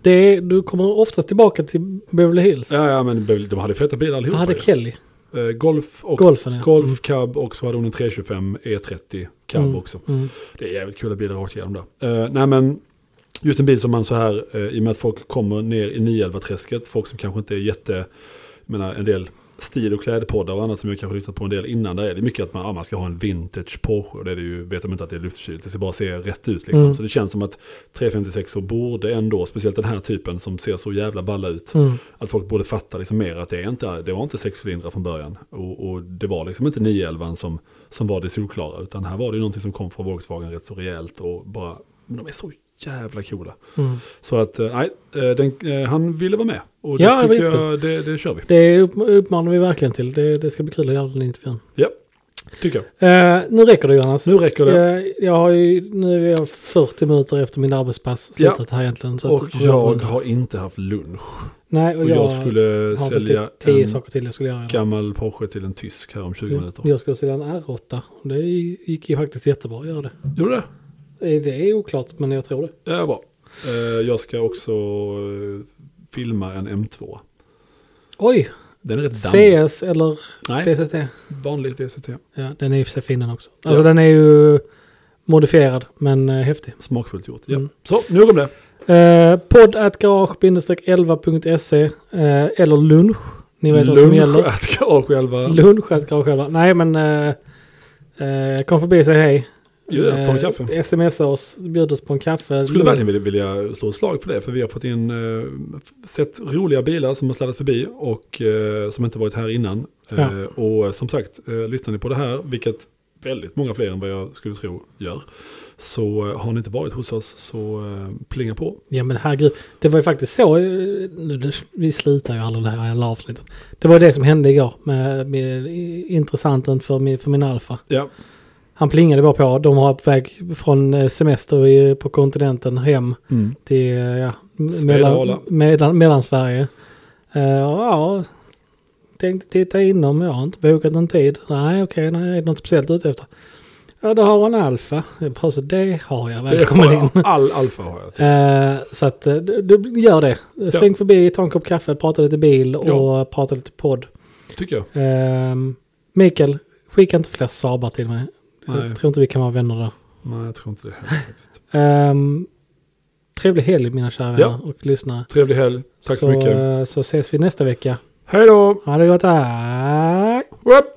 Det är, du kommer ofta tillbaka till Beverly Hills. Ja, ja men Beverly- de hade feta bilar Vad allihopa. hade ju. Kelly? Eh, golf och Golfen ja. Golf, cab och så hade hon en 325 E30 cab Mm. också. Mm. Det är jävligt kul bilar rakt igenom där. Eh, nej men, just en bil som man så här, eh, i och med att folk kommer ner i 911-träsket, folk som kanske inte är jätte, jag menar en del stil och klädpoddar och annat som jag kanske lyssnat på en del innan, där är det mycket att man, ja, man ska ha en vintage Porsche, och det är det ju, vet de inte att det är luftkylt, det ska bara se rätt ut liksom. Mm. Så det känns som att 356 borde ändå, speciellt den här typen som ser så jävla balla ut, Mm. att folk borde fatta liksom mer att det, är inte, det var inte sexcylindrar från början. Och, och det var liksom inte 911 som, som var det solklara. Utan här var det ju någonting som kom från Volkswagen rätt så rejält. Och bara, men de är så jävla coola. Mm. Så att, eh, nej, eh, den, eh, han ville vara med. Och det Ja, det var tycker jag, det, det kör vi. Det upp- uppmanar vi verkligen till. Det, det ska bli kul att göra den intervjun. Ja, tycker jag. Eh, nu räcker det Johannes. Nu räcker det. Jag, jag har ju, nu är jag 40 minuter efter min arbetspass Ja. slutat här egentligen. Så Och att- jag har inte haft lunch. Nej, och Och jag, jag skulle har väl sälja typ 10 en saker till jag skulle göra. idag. gammal Porsche till en tysk här om 20 minuter. Jag skulle sälja en R8. Och Det gick ju faktiskt jättebra att göra det. Gjorde du det? Eh, Det är oklart, men jag tror det. Ja, bra. Eh, Jag ska också eh, filma en M2. Oj, Den är rätt dammig. CS eller Nej, DCT. vanlig DCT. Ja, den är ju för sig fin den också. Alltså Ja. den är ju modifierad, men eh, häftig. Smakfullt gjort. Ja. Mm. Så, nog om det. Eh, podd at garage-11.se eh, eller lunch. Ni vet vad som gäller. att garage själva. Lunch at garage elva. Nej, men eh, eh, kom förbi och säg hej. Ja, ta en Eh, kaffe. smsa oss, bjud oss på en kaffe. Skulle verkligen vilja, vilja slå ett slag för det, för vi har fått in, eh, sett roliga bilar som har sladdat förbi och eh, som inte varit här innan. Eh, Ja. och som sagt, eh, lyssnar ni på det här, vilket väldigt många fler än vad jag skulle tro gör, så eh, har ni inte varit hos oss så eh, plinga på. Ja men herregud, det var ju faktiskt så, eh, nu, nu, vi slutar ju aldrig det här jävla avsnittet. Det var det som hände igår med, med i- intressanten för min, för min alfa. Ja, Han plingade bara på, de var på väg från eh, semester i, på kontinenten hem mm. till eh, ja, m- Svedala. mellan, mellan, mellan Sverige. Eh, ja, tänkte titta inom, jag har inte bokat någon tid. Nej okej, nej, är det något speciellt ute efter? Ja, då har han alfa. Jag bara, så det har jag, det välkommen in. har jag, all alfa har jag. Eh, så att eh, du, du gör det. Sväng förbi, ta en kopp kaffe, prata lite bil och Ja. prata lite podd. Tycker jag. Ehm, Mikael, skicka inte fler Saabar till mig. Nej. Jag tror inte vi kan vara vänner då. Nej, jag tror inte det heller faktiskt. Ehm, trevlig helg mina kära Ja. vänner och lyssnare. Trevlig helg. Tack så, mycket. eh, Så ses vi nästa vecka. Hej då! Ha det gott. Tack. Upp!